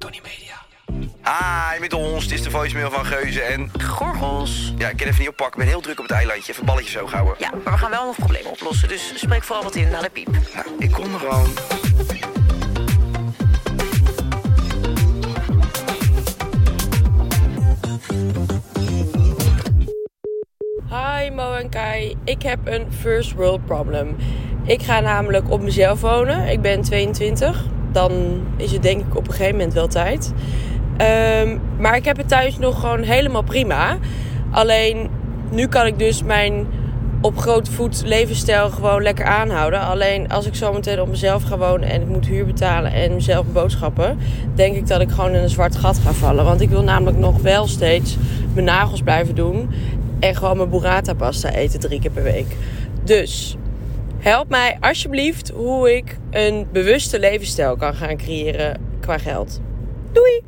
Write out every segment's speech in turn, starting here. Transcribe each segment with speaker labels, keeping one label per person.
Speaker 1: Tony Media.
Speaker 2: Hi, met ons. Dit is de voicemail van Geuze en...
Speaker 3: Gorgels.
Speaker 2: Ja, ik kan even niet oppakken. Ik ben heel druk op het eilandje. Even balletjes zo houden.
Speaker 3: Ja, maar we gaan wel nog problemen oplossen. Dus spreek vooral wat in naar de piep.
Speaker 2: Nou, ik kom er gewoon.
Speaker 4: Hi Mo en Kai, ik heb een first world problem. Ik ga namelijk op mezelf wonen. Ik ben 22. Dan is het denk ik op een gegeven moment wel tijd. Ehm, maar ik heb het thuis nog gewoon helemaal prima. Alleen nu kan ik dus mijn op grote voet levensstijl gewoon lekker aanhouden. Alleen als ik zo meteen op mezelf ga wonen en ik moet huur betalen en mezelf boodschappen, denk ik dat ik gewoon in een zwart gat ga vallen. Want ik wil namelijk nog wel steeds mijn nagels blijven doen en gewoon mijn burrata pasta eten drie keer per week. Dus help mij alsjeblieft hoe ik een bewuste levensstijl kan gaan creëren qua geld. Doei!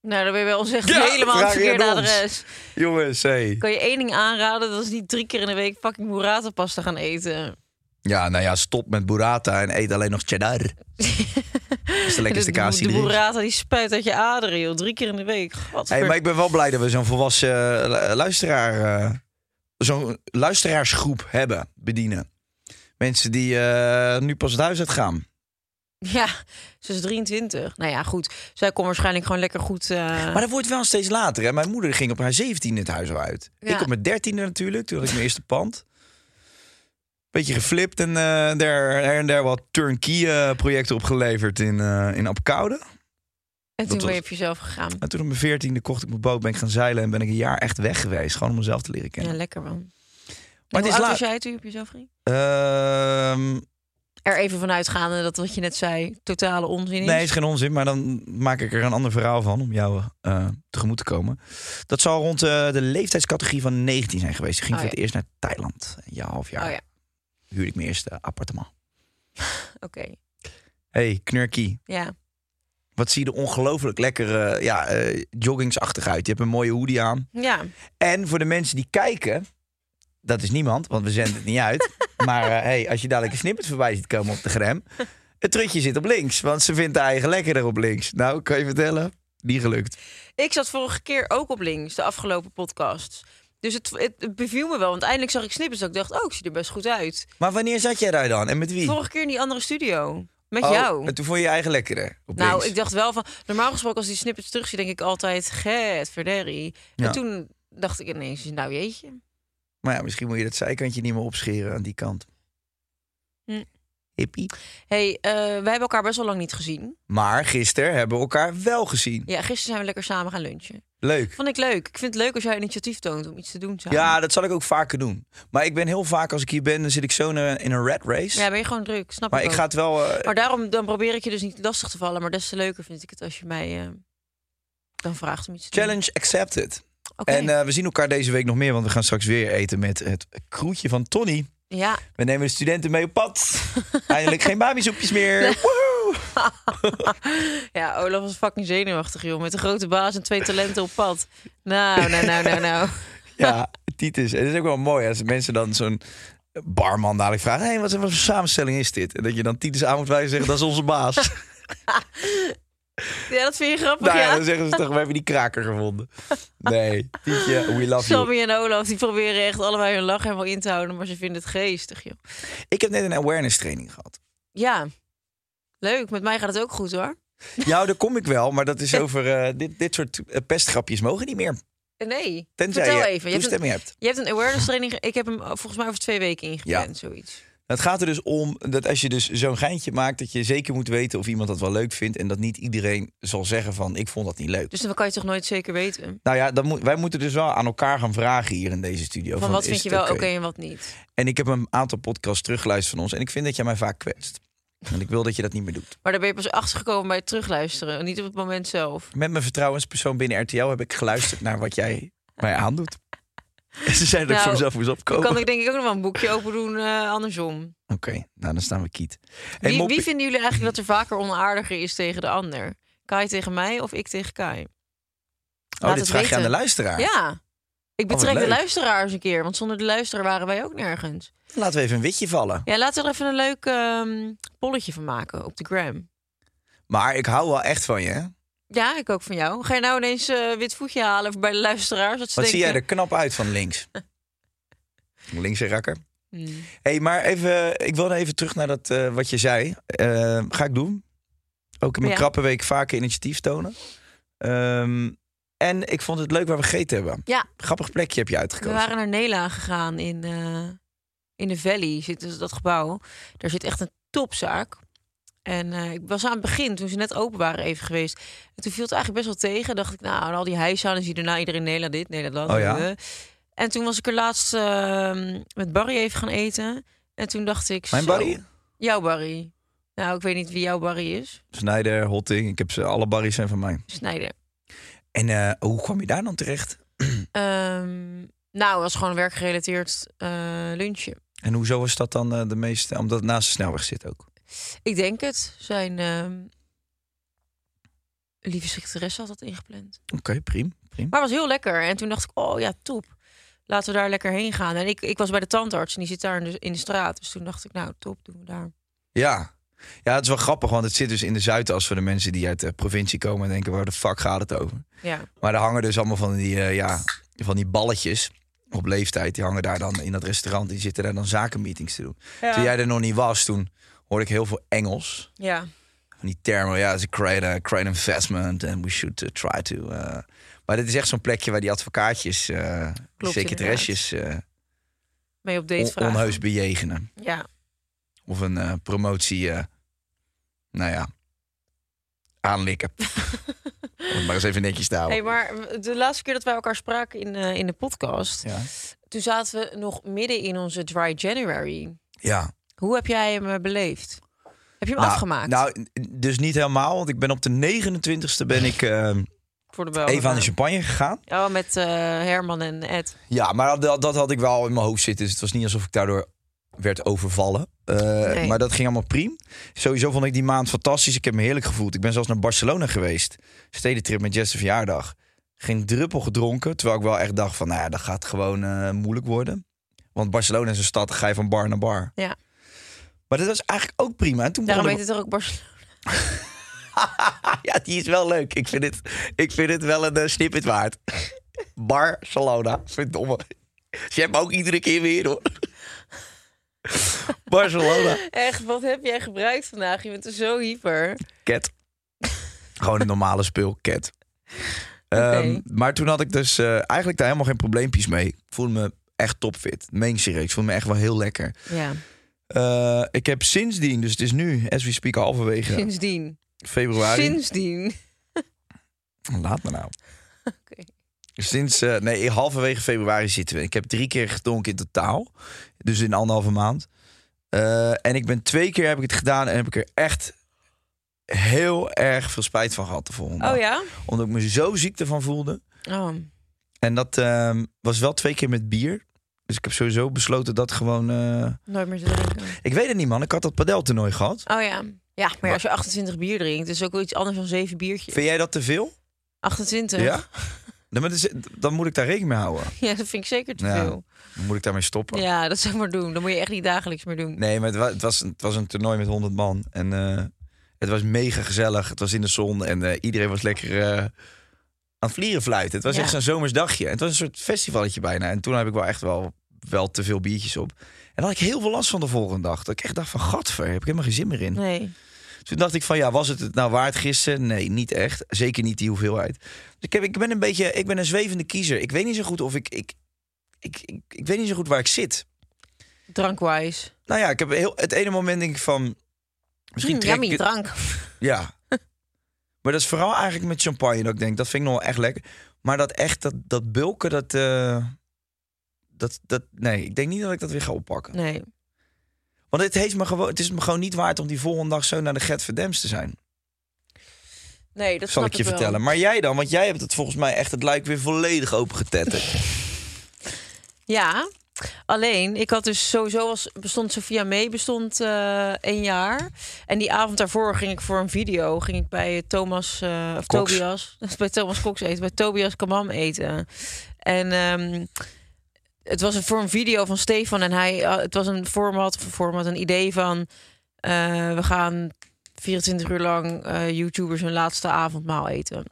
Speaker 3: Nou, dan ben je bij ons echt
Speaker 2: Ja,
Speaker 3: helemaal het
Speaker 2: vraag je
Speaker 3: verkeerde
Speaker 2: aan ons.
Speaker 3: adres.
Speaker 2: Jongens, hey.
Speaker 3: Kan je één ding aanraden? Dat is niet drie keer in de week fucking burrata-pasta gaan eten.
Speaker 1: Ja, nou ja, stop met burrata en eet alleen nog cheddar. Dat is de lekkerste kaas
Speaker 3: de,
Speaker 1: die
Speaker 3: de
Speaker 1: er is.
Speaker 3: burrata die spuit uit je aderen, joh. Drie keer in de week. Godver.
Speaker 1: Hey, maar ik ben wel blij dat we zo'n volwassen eh, lu- luisteraar, eh, zo'n luisteraarsgroep hebben, bedienen. Mensen die eh, nu pas het huis uit gaan.
Speaker 3: Ja, ze is 23. Nou ja, goed. Zij kon waarschijnlijk gewoon lekker goed... eh,
Speaker 1: Maar dat wordt wel steeds later. Hè? Mijn moeder ging op haar 17 het huis al uit.
Speaker 3: Ja.
Speaker 1: Ik op mijn 13e natuurlijk, toen had ik mijn eerste pand. Beetje geflipt en eh daar her en daar wat turnkey eh, projecten opgeleverd in, eh in Apeldoorn.
Speaker 3: en
Speaker 1: dat
Speaker 3: toen ben je
Speaker 1: was-
Speaker 3: op jezelf gegaan.
Speaker 1: En toen op mijn veertiende kocht ik mijn boot, ben ik gaan zeilen en ben ik een jaar echt weg geweest. Gewoon om mezelf te leren
Speaker 3: Ja,
Speaker 1: kennen.
Speaker 3: lekker man.
Speaker 1: maar
Speaker 3: Maar
Speaker 1: het
Speaker 3: hoe
Speaker 1: is
Speaker 3: oud
Speaker 1: laat.
Speaker 3: was jij toen je op jezelf ging?
Speaker 1: Ehm,
Speaker 3: Er even van uitgaande dat wat je net zei totale onzin is.
Speaker 1: nee, is geen onzin, maar dan maak ik er een ander verhaal van om jou eh, tegemoet te komen. Dat zal rond eh, de leeftijdscategorie van 19 zijn geweest. Ik ging
Speaker 3: Oh,
Speaker 1: voor
Speaker 3: ja.
Speaker 1: het eerst naar Thailand. Een jaar, half jaar
Speaker 3: Oh ja,
Speaker 1: huurde ik mijn eerste appartement.
Speaker 3: oké.
Speaker 1: hey, knurkie.
Speaker 3: Ja.
Speaker 1: Wat zie je er ongelooflijk lekker eh, ja, eh, joggingsachtig uit. Je hebt een mooie hoodie aan.
Speaker 3: Ja.
Speaker 1: En voor de mensen die kijken, dat is niemand, want we zenden het niet uit. maar eh, hey, als je dadelijk een snippet voorbij ziet komen op de gram, het trutje zit op links, want ze vindt haar eigen lekkerder op links. Nou, kan je vertellen? Niet gelukt.
Speaker 3: Ik zat vorige keer ook op links, de afgelopen podcast. Dus het, het, het beviel me wel, want eindelijk zag ik snippers dat ik dacht, oh, ik zie er best goed uit.
Speaker 1: Maar wanneer zat jij daar dan en met wie?
Speaker 3: Vorige keer in die andere studio, met
Speaker 1: Oh,
Speaker 3: jou.
Speaker 1: En toen vond je je eigen lekkerder op
Speaker 3: nou,
Speaker 1: links.
Speaker 3: ik dacht wel van, normaal gesproken als die snippers terug zie, denk ik altijd, get verderrie.
Speaker 1: Ja.
Speaker 3: En toen dacht ik ineens, nou jeetje.
Speaker 1: Maar ja, misschien moet je dat zijkantje niet meer opscheren aan die kant.
Speaker 3: Hm.
Speaker 1: Hippie.
Speaker 3: hey, eh, wij hebben elkaar best wel lang niet gezien.
Speaker 1: Maar gisteren hebben we elkaar wel gezien.
Speaker 3: Ja, gisteren zijn we lekker samen gaan lunchen.
Speaker 1: Leuk.
Speaker 3: Vond ik leuk. Ik vind het leuk als jij initiatief toont om iets te doen samen.
Speaker 1: Ja, dat zal ik ook vaker doen. Maar ik ben heel vaak, als ik hier ben, dan zit ik zo in een, in een rat race.
Speaker 3: Ja, ben je gewoon druk, snap
Speaker 1: maar
Speaker 3: ik
Speaker 1: ik
Speaker 3: ook.
Speaker 1: ga het wel... eh,
Speaker 3: Maar daarom dan probeer ik je dus niet lastig te vallen. Maar des te leuker vind ik het als je mij eh, dan vraagt om iets te
Speaker 1: Challenge accepted.
Speaker 3: doen. Oké.
Speaker 1: En eh, we zien elkaar deze week nog meer, want we gaan straks weer eten met het kroetje van Tony.
Speaker 3: Ja,
Speaker 1: We nemen de studenten mee op pad. Eindelijk geen babysoepjes meer. Woehoe.
Speaker 3: ja, Olaf was fucking zenuwachtig, joh. Met een grote baas en twee talenten op pad. Nou, nou, nou, nou, nou.
Speaker 1: Ja, Titus. En het is ook wel mooi als mensen dan zo'n barman dadelijk vragen... hey, wat, wat voor samenstelling is dit? En dat je dan Titus aan moet wijzen en zeggen, dat is onze baas.
Speaker 3: Ja, dat vind je grappig,
Speaker 1: nou ja,
Speaker 3: ja?
Speaker 1: dan zeggen ze toch, we hebben die kraker gevonden. Nee, Tietje, we love you.
Speaker 3: Sammy en Olaf, die proberen echt allebei hun lach helemaal in te houden. Maar ze vinden het geestig, joh.
Speaker 1: Ik heb net een awareness training gehad.
Speaker 3: Ja. Leuk, met mij gaat het ook goed hoor.
Speaker 1: Ja, daar kom ik wel, maar dat is over... eh, dit, dit soort eh, pestgrapjes mogen niet meer.
Speaker 3: Eh, Nee,
Speaker 1: Tenzij
Speaker 3: vertel
Speaker 1: je
Speaker 3: even. Je hebt, een,
Speaker 1: toestemming hebt.
Speaker 3: je hebt een awareness training. ge- Ik heb hem eh, volgens mij over twee weken ingepland, zoiets.
Speaker 1: Het gaat er dus om dat als je dus zo'n geintje maakt... dat je zeker moet weten of iemand dat wel leuk vindt... en dat niet iedereen zal zeggen van ik vond dat niet leuk.
Speaker 3: Dus dan kan je toch nooit zeker weten. Van,
Speaker 1: Nou ja, dan moet, wij moeten dus wel aan elkaar gaan vragen hier in deze studio. Van,
Speaker 3: wat
Speaker 1: is
Speaker 3: vind je
Speaker 1: het
Speaker 3: wel oké en wat niet.
Speaker 1: En ik heb een aantal podcasts teruggeluisterd van ons... en ik vind dat jij mij vaak kwetst. En ik wil dat je dat niet meer doet.
Speaker 3: Maar daar ben je pas achter gekomen bij het terugluisteren. Niet op het moment zelf.
Speaker 1: Met mijn vertrouwenspersoon binnen RTL heb ik geluisterd naar wat jij mij aandoet. En ze zeiden dat ik
Speaker 3: Nou,
Speaker 1: voor mezelf moest opkomen.
Speaker 3: Kan ik denk ik ook nog wel een boekje open doen eh, andersom.
Speaker 1: Oké, nou dan staan we kiet. Hey,
Speaker 3: Wie,
Speaker 1: Mop,
Speaker 3: wie vinden jullie eigenlijk dat er vaker onaardiger is tegen de ander? Kai tegen mij of ik tegen Kai?
Speaker 1: oh,
Speaker 3: laat
Speaker 1: dit
Speaker 3: het
Speaker 1: vraag je aan
Speaker 3: weten.
Speaker 1: de luisteraar. Oh,
Speaker 3: Ja. Ik
Speaker 1: wat
Speaker 3: betrek de
Speaker 1: leuk.
Speaker 3: luisteraars een keer, want zonder de luisteraar waren wij ook nergens.
Speaker 1: Laten we even een witje vallen.
Speaker 3: Ja, laten we er even een leuk ehm, polletje van maken op de gram.
Speaker 1: Maar ik hou wel echt van je. hè?
Speaker 3: Ja, ik ook van jou. Ga je nou ineens eh, wit voetje halen voor bij de luisteraars? Dat ze
Speaker 1: Wat zie jij
Speaker 3: denken,
Speaker 1: er knap uit van links? Linkse rakker.
Speaker 3: hmm.
Speaker 1: hey, maar even, ik wil even terug naar dat, eh, wat je zei. Eh, ga ik doen. Ook in mijn
Speaker 3: Ja.
Speaker 1: krappe week vaker initiatief tonen. Ehm, en ik vond het leuk waar we gegeten hebben.
Speaker 3: Ja.
Speaker 1: Grappig plekje heb je
Speaker 3: We
Speaker 1: uitgekozen.
Speaker 3: waren naar Nela gegaan in, eh, in de Valley, zit dus dat gebouw. Daar zit echt een topzaak. En eh, ik was aan het begin, toen ze net open waren, even geweest. En toen viel het eigenlijk best wel tegen. Dacht ik, nou, en al die hijsalen zie je daarna iedereen Nela dit, Nela dat.
Speaker 1: Oh ja?
Speaker 3: eh. En toen was ik er laatst ehm, met Barry even gaan eten. En toen dacht ik...
Speaker 1: Mijn
Speaker 3: zo,
Speaker 1: Barry?
Speaker 3: Jouw Barry. Nou, ik weet niet wie jouw Barry is.
Speaker 1: Snijder, Hotting, ik heb ze, alle barries zijn van mij.
Speaker 3: Snijder.
Speaker 1: En eh, hoe kwam je daar dan terecht?
Speaker 3: Ehm, nou, het was gewoon een werkgerelateerd eh, lunchje.
Speaker 1: En hoezo is dat dan eh, de meeste? Omdat het naast de snelweg zit ook.
Speaker 3: Ik denk het. Zijn ehm lieve secretaresse had dat ingepland.
Speaker 1: Oké, prima. prima.
Speaker 3: Maar het was heel lekker. En toen dacht ik, oh ja, top. Laten we daar lekker heen gaan. En ik, ik was bij de tandarts en die zit daar in de, in de straat. Dus toen dacht ik, nou, top, doen we daar.
Speaker 1: Ja. ja, het is wel grappig, want het zit dus in de Zuidas voor de mensen die uit de provincie komen en denken, waar de fuck gaat het over?
Speaker 3: Ja.
Speaker 1: Maar er hangen dus allemaal van die, eh, ja, van die balletjes op leeftijd. Die hangen daar dan in dat restaurant. Die zitten daar dan zakenmeetings te doen. Toen jij er nog niet was, toen hoorde ik heel veel Engels.
Speaker 3: Ja.
Speaker 1: Van die termen, ja, ze create, a- create investment and we should eh, try to... eh. Maar dit is echt zo'n plekje waar die advocaatjes, eh die
Speaker 3: Klopt,
Speaker 1: secretaresjes, eh,
Speaker 3: Mee op
Speaker 1: on-
Speaker 3: date vragen.
Speaker 1: onheus bejegenen.
Speaker 3: Ja.
Speaker 1: Of een eh, promotie, eh, nou ja, aanlikken. Om het maar eens even netjes te
Speaker 3: Hey,
Speaker 1: houden.
Speaker 3: maar de laatste keer dat wij elkaar spraken in, eh, in de podcast...
Speaker 1: Ja.
Speaker 3: toen zaten we nog midden in onze dry January.
Speaker 1: ja.
Speaker 3: Hoe heb jij hem eh, beleefd? Heb je hem
Speaker 1: Nou,
Speaker 3: afgemaakt
Speaker 1: Nou, dus niet helemaal, want ik ben op de 29e ben ik eh,
Speaker 3: voor de bel?
Speaker 1: even aan de champagne gegaan.
Speaker 3: Oh, met eh, Herman en Ed.
Speaker 1: Ja, maar dat, dat had ik wel in mijn hoofd zitten. Dus het was niet alsof ik daardoor werd overvallen. Eh,
Speaker 3: Nee.
Speaker 1: Maar dat ging allemaal prima. Sowieso vond ik die maand fantastisch. Ik heb me heerlijk gevoeld. Ik ben zelfs naar Barcelona geweest. Stedentrip met Jesse verjaardag. Geen druppel gedronken. Terwijl ik wel echt dacht van, nou ja, dat gaat gewoon eh, moeilijk worden. Want Barcelona is een stad, dan ga je van bar naar bar.
Speaker 3: Ja.
Speaker 1: Maar dat was eigenlijk ook prima. En toen
Speaker 3: Daarom
Speaker 1: begon
Speaker 3: heet
Speaker 1: de-
Speaker 3: het er ook Barcelona.
Speaker 1: Ja, die is wel leuk. Ik vind het, ik vind het wel een eh, snippet waard. Barcelona. Verdomme. Ze hebben ook iedere keer weer, hoor. Barcelona.
Speaker 3: Echt, wat heb jij gebruikt vandaag? Je bent er zo hyper.
Speaker 1: Cat. Gewoon een normale spul, cat. Ehm, maar toen had ik dus eh, eigenlijk daar helemaal geen probleempjes mee. Ik voelde me echt topfit. Meen ik serieus. Ik voelde me echt wel heel lekker.
Speaker 3: Ja,
Speaker 1: Eh, ik heb sindsdien, dus het is nu, as we speak, halverwege
Speaker 3: sindsdien.
Speaker 1: februari.
Speaker 3: Sindsdien.
Speaker 1: Laat me nou. Sinds, eh, nee, halverwege februari zitten we. Ik heb drie keer gedronken in totaal. Dus in anderhalve maand. Eh, en ik ben twee keer heb ik het gedaan en heb ik er echt heel erg veel spijt van gehad de volgende
Speaker 3: Oh
Speaker 1: dag.
Speaker 3: ja?
Speaker 1: Omdat ik me zo ziek ervan voelde.
Speaker 3: Oh.
Speaker 1: En dat ehm, was wel twee keer met bier. Dus ik heb sowieso besloten dat gewoon... eh,
Speaker 3: Nooit meer te drinken.
Speaker 1: Ik weet het niet, man. Ik had dat padeltoernooi gehad.
Speaker 3: Oh ja. Ja, maar ja, als je 28 bier drinkt, is het ook wel iets anders dan 7 biertjes.
Speaker 1: Vind jij dat te veel?
Speaker 3: 28?
Speaker 1: Ja? Nee, maar dat is- Dan moet ik daar rekening mee houden.
Speaker 3: Ja, dat vind ik zeker te
Speaker 1: Ja.
Speaker 3: veel.
Speaker 1: Dan moet ik daarmee stoppen.
Speaker 3: Ja, dat zou ik maar doen. Dan moet je echt niet dagelijks meer doen.
Speaker 1: Nee, maar het wa- het was, een- het was een toernooi met 100 man. En eh, het was mega gezellig. Het was in de zon en eh, iedereen was lekker eh, aan het vlieren fluiten. Het was
Speaker 3: Ja.
Speaker 1: echt zo'n zomersdagje. Het was een soort festivaletje bijna. En toen heb ik wel echt wel, wel te veel biertjes op. En dan had ik heel veel last van de volgende dag. Dat ik echt dacht van, gadver, heb ik helemaal geen zin meer in.
Speaker 3: Nee.
Speaker 1: Toen dacht ik van, ja, was het het nou waard gisteren? Nee, niet echt. Zeker niet die hoeveelheid. Dus ik, heb, ik ben een beetje, ik ben een zwevende kiezer. Ik weet niet zo goed of ik, ik, ik, ik, ik weet niet zo goed waar ik zit.
Speaker 3: Drankwijs.
Speaker 1: Nou ja, ik heb heel, het ene moment denk ik van, misschien
Speaker 3: Hm,
Speaker 1: trek ik
Speaker 3: yummy
Speaker 1: het-
Speaker 3: drank.
Speaker 1: Ja. maar dat is vooral eigenlijk met champagne dat ik denk, dat vind ik nog wel echt lekker. Maar dat echt, dat, dat bulken, dat, eh, dat, dat, nee, ik denk niet dat ik dat weer ga oppakken.
Speaker 3: Nee.
Speaker 1: Want het, heeft me gewoon, het is me gewoon niet waard om die volgende dag zo naar de Gert Verdems te zijn.
Speaker 3: Nee, dat
Speaker 1: zal
Speaker 3: snap
Speaker 1: ik je
Speaker 3: wel.
Speaker 1: vertellen. Maar jij dan, want jij hebt het volgens mij echt het luik weer volledig opengetetterd.
Speaker 3: Ja, alleen ik had dus sowieso als bestond Sophia mee, bestond eh één jaar. En die avond daarvoor ging ik voor een video, ging ik bij Thomas eh, of
Speaker 1: Cox.
Speaker 3: Tobias, bij Thomas Cox eten, bij Tobias Kamam eten. En ehm, het was een, voor een video van Stefan en hij, eh, het was een format, of een format, een idee van eh, we gaan 24 uur lang eh, YouTubers hun laatste avondmaal eten.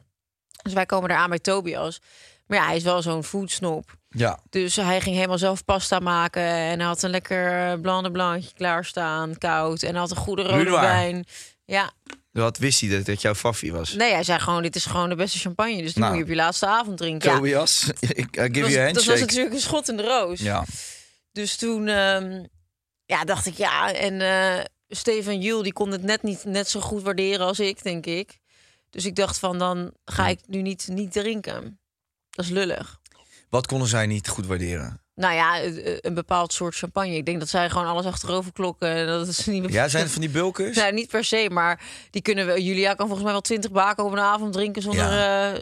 Speaker 3: Dus wij komen eraan bij Tobias. Maar ja, hij is wel zo'n foodsnop.
Speaker 1: ja.
Speaker 3: Dus hij ging helemaal zelf pasta maken. En hij had een lekker eh, blanc de blancje klaarstaan, koud. En hij had een goede rode
Speaker 1: Rudoir.
Speaker 3: wijn. Ja,
Speaker 1: Wat wist hij dat, dat jouw faffie was?
Speaker 3: nee, hij zei gewoon, dit is gewoon de beste champagne. Dus die
Speaker 1: Nou.
Speaker 3: moet je op je laatste avond drinken. Ja,
Speaker 1: Tobias, ik I give
Speaker 3: dat,
Speaker 1: you a
Speaker 3: was, dat was
Speaker 1: handshake.
Speaker 3: natuurlijk een schot in de roos.
Speaker 1: ja.
Speaker 3: Dus toen ehm, ja, dacht ik, ja, en eh Steven Jules die kon het net niet net zo goed waarderen als ik, denk ik. Dus ik dacht van, dan ga ik nu niet, niet drinken. Dat is lullig.
Speaker 1: Wat konden zij niet goed waarderen?
Speaker 3: Nou ja, eh, eh, een bepaald soort champagne. Ik denk dat zij gewoon alles achterover klokken. En dat is niet
Speaker 1: Ja, zijn het van die bulkers?
Speaker 3: Nou, niet per se, maar die kunnen we. Julia kan volgens mij wel twintig baken op een avond drinken zonder, eh,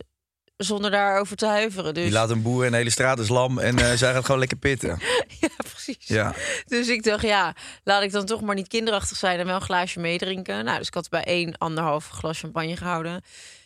Speaker 3: zonder daarover te huiveren. Dus
Speaker 1: Je laat een boer en de hele straat is lam en eh, zij gaat gewoon lekker pitten.
Speaker 3: ja, precies.
Speaker 1: Ja.
Speaker 3: Dus ik dacht, ja, laat ik dan toch maar niet kinderachtig zijn en wel een glaasje meedrinken. Nou, dus ik had bij één anderhalf glas champagne gehouden.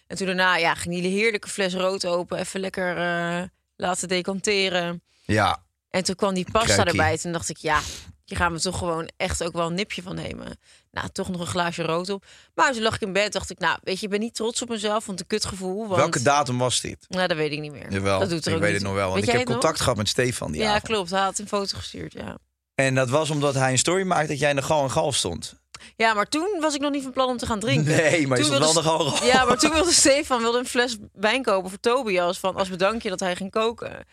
Speaker 3: En toen daarna, ja, ging die heerlijke fles rood open, even lekker eh, laten decanteren.
Speaker 1: Ja.
Speaker 3: En toen kwam die pasta
Speaker 1: Kruikie.
Speaker 3: erbij. Toen dacht ik, ja, hier gaan we toch gewoon echt ook wel een nipje van nemen. Nou, toch nog een glaasje rood op. Maar toen lag ik in bed, dacht ik, nou, weet je, ik ben niet trots op mezelf, want een kutgevoel. Want,
Speaker 1: Welke datum was dit?
Speaker 3: Nou, dat weet ik niet meer.
Speaker 1: Jawel,
Speaker 3: dat doet er
Speaker 1: ik
Speaker 3: ook
Speaker 1: weet
Speaker 3: niet
Speaker 1: het nog
Speaker 3: toe.
Speaker 1: wel. Want
Speaker 3: Weet
Speaker 1: ik
Speaker 3: jij
Speaker 1: heb
Speaker 3: het nog?
Speaker 1: contact gehad met Stefan die
Speaker 3: Ja,
Speaker 1: avond.
Speaker 3: klopt. Hij had een foto gestuurd, ja.
Speaker 1: En dat was omdat hij een story maakte dat jij in de gal en gal stond.
Speaker 3: Ja, maar toen was ik nog niet van plan om te gaan drinken.
Speaker 1: Nee, maar je
Speaker 3: Toen
Speaker 1: stond wel
Speaker 3: wilde-
Speaker 1: de gal en gal.
Speaker 3: Ja, maar toen wilde Stefan wilde een fles wijn kopen voor Tobias. Van als bedankje dat hij ging koken.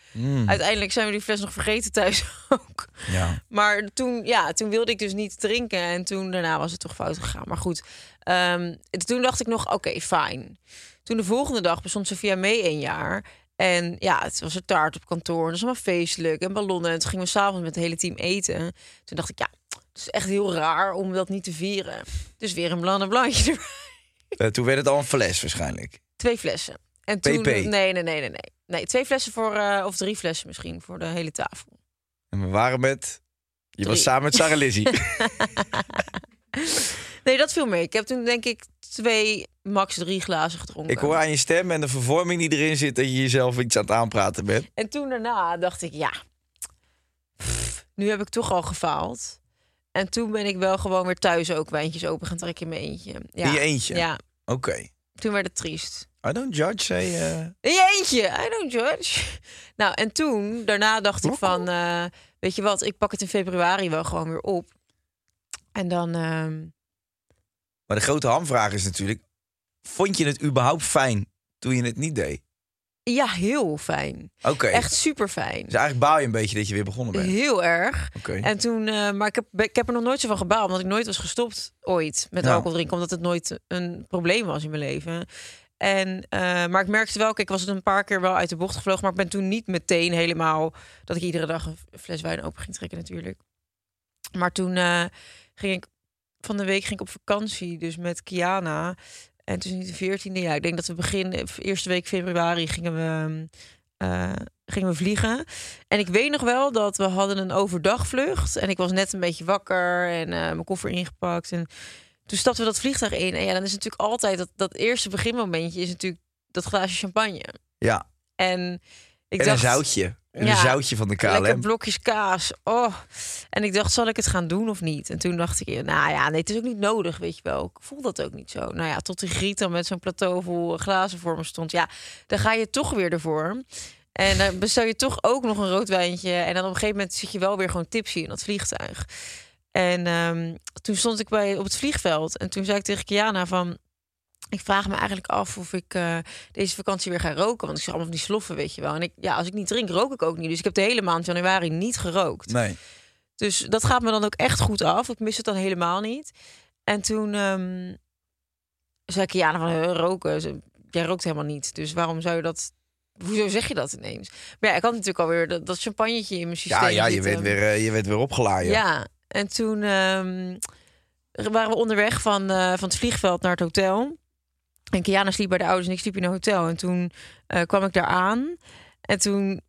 Speaker 3: Uiteindelijk zijn we die fles nog vergeten thuis ook.
Speaker 1: Ja.
Speaker 3: Maar toen, ja, toen wilde ik dus niet drinken. En toen daarna was het toch fout gegaan. Maar goed, ehm, het- toen dacht ik nog, oké, fijn. Toen de volgende dag bestond Sophia mee een jaar. En ja, het was er taart op kantoor. En dat was allemaal feestelijk. En ballonnen. En toen gingen we s'avonds met het hele team eten. Toen dacht ik, ja, het is echt heel raar om dat niet te vieren. Dus weer een blanc en blancje erbij.
Speaker 1: Eh, toen werd het al een fles waarschijnlijk.
Speaker 3: Twee flessen. En toen,
Speaker 1: PP.
Speaker 3: Nee, nee, nee, nee, nee. Nee, twee flessen voor, eh, of drie flessen misschien, voor de hele tafel.
Speaker 1: En we waren met... Je was
Speaker 3: Drie.
Speaker 1: samen met Sarah Lizzie.
Speaker 3: Nee, dat viel mee. Ik heb toen denk ik twee, max drie glazen gedronken.
Speaker 1: ik hoor aan je stem en de vervorming die erin zit... dat je jezelf iets aan het aanpraten bent.
Speaker 3: En toen daarna dacht ik, ja, pff, nu heb ik toch al gefaald. En toen ben ik wel gewoon weer thuis ook wijntjes open gaan trekken in mijn eentje. Ja.
Speaker 1: In je eentje?
Speaker 3: Ja,
Speaker 1: Oké.
Speaker 3: toen werd het triest.
Speaker 1: I don't judge, zei eh,
Speaker 3: In je eentje, I don't judge. Nou, en toen, daarna dacht ik van, eh, weet je wat, ik pak het in februari wel gewoon weer op. En dan, ehm,
Speaker 1: Maar de grote hamvraag is natuurlijk... Vond je het überhaupt fijn toen je het niet deed?
Speaker 3: ja, heel fijn.
Speaker 1: Oké.
Speaker 3: Echt super fijn.
Speaker 1: Dus eigenlijk baal je een beetje dat je weer begonnen bent.
Speaker 3: Heel erg.
Speaker 1: Oké.
Speaker 3: En toen, eh, maar ik heb, ik heb er nog nooit zo van gebaald, omdat ik nooit was gestopt ooit met
Speaker 1: Ja.
Speaker 3: alcohol drinken, omdat het nooit een probleem was in mijn leven. En, eh, maar ik merkte wel, kijk, ik was het een paar keer wel uit de bocht gevlogen, maar ik ben toen niet meteen helemaal dat ik iedere dag een fles wijn open ging trekken natuurlijk. Maar toen eh, ging ik van de week ging ik op vakantie, dus met Kiana. En het is nu de 14e jaar. Ik denk dat we begin eh, eerste week februari gingen we, eh, gingen we vliegen. En ik weet nog wel dat we hadden een overdagvlucht. En ik was net een beetje wakker en eh, mijn koffer ingepakt. En toen stapten Dus we dat vliegtuig in. En ja, dan is natuurlijk altijd dat, dat eerste beginmomentje is natuurlijk dat glaasje champagne.
Speaker 1: Ja.
Speaker 3: En ik
Speaker 1: en
Speaker 3: dacht,
Speaker 1: een zoutje. En
Speaker 3: Ja.
Speaker 1: een zoutje van de
Speaker 3: Lekker
Speaker 1: KLM.
Speaker 3: blokjes kaas. Oh. En ik dacht, zal ik het gaan doen of niet? En toen dacht ik, nou ja, nee, het is ook niet nodig, weet je wel. Ik voel dat ook niet zo. Nou ja, tot die griet dan met zo'n plateau vol glazen voor me stond. Ja, dan ga je toch weer ervoor. En dan bestel je toch ook nog een rood wijntje. En dan op een gegeven moment zit je wel weer gewoon tipsy in dat vliegtuig. En ehm, toen stond ik bij, op het vliegveld. En toen zei ik tegen Kiana van... Ik vraag me eigenlijk af of ik eh, deze vakantie weer ga roken. Want ik zag allemaal van die sloffen, weet je wel. En ik, ja, als ik niet drink, rook ik ook niet. Dus ik heb de hele maand januari niet gerookt.
Speaker 1: Nee.
Speaker 3: Dus dat gaat me dan ook echt goed af. Ik mis het dan helemaal niet. En toen ehm, zei ik, ja, van eh, roken. Ze- Jij rookt helemaal niet. Dus waarom zou je dat... Hoezo zeg je dat ineens? Maar ja, ik had natuurlijk alweer dat, dat champagnetje in mijn systeem
Speaker 1: Ja, ja je,
Speaker 3: zitten.
Speaker 1: werd weer, eh, je werd weer opgeladen.
Speaker 3: Ja, en toen ehm, waren we onderweg van, eh, van het vliegveld naar het hotel. En Kiana sliep bij de ouders en ik sliep in een hotel. En toen eh, kwam ik daar aan. En toen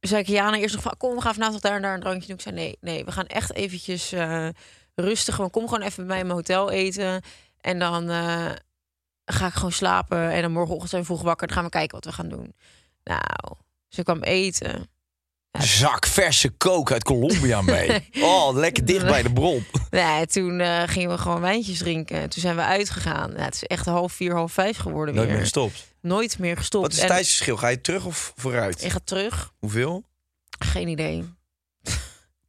Speaker 3: zei Kiana eerst nog van... kom, we gaan vanavond nog daar en daar een drankje doen. Ik zei nee, nee, we gaan echt eventjes eh, rustig... gewoon kom gewoon even bij mij in mijn hotel eten. En dan eh, ga ik gewoon slapen. En dan morgenochtend zijn we vroeg wakker. Dan gaan we kijken wat we gaan doen. Nou, ze kwam eten.
Speaker 1: Zak verse kook uit Colombia mee. Oh, lekker dicht bij de bron.
Speaker 3: Nee, toen eh, gingen we gewoon wijntjes drinken. Toen zijn we uitgegaan. Nou, het is echt half vier, half vijf geworden
Speaker 1: Nooit
Speaker 3: weer.
Speaker 1: meer gestopt.
Speaker 3: Nooit meer gestopt.
Speaker 1: Wat is
Speaker 3: En
Speaker 1: het tijdsverschil? Ga je terug of vooruit?
Speaker 3: Ik ga terug.
Speaker 1: Hoeveel?
Speaker 3: Geen idee.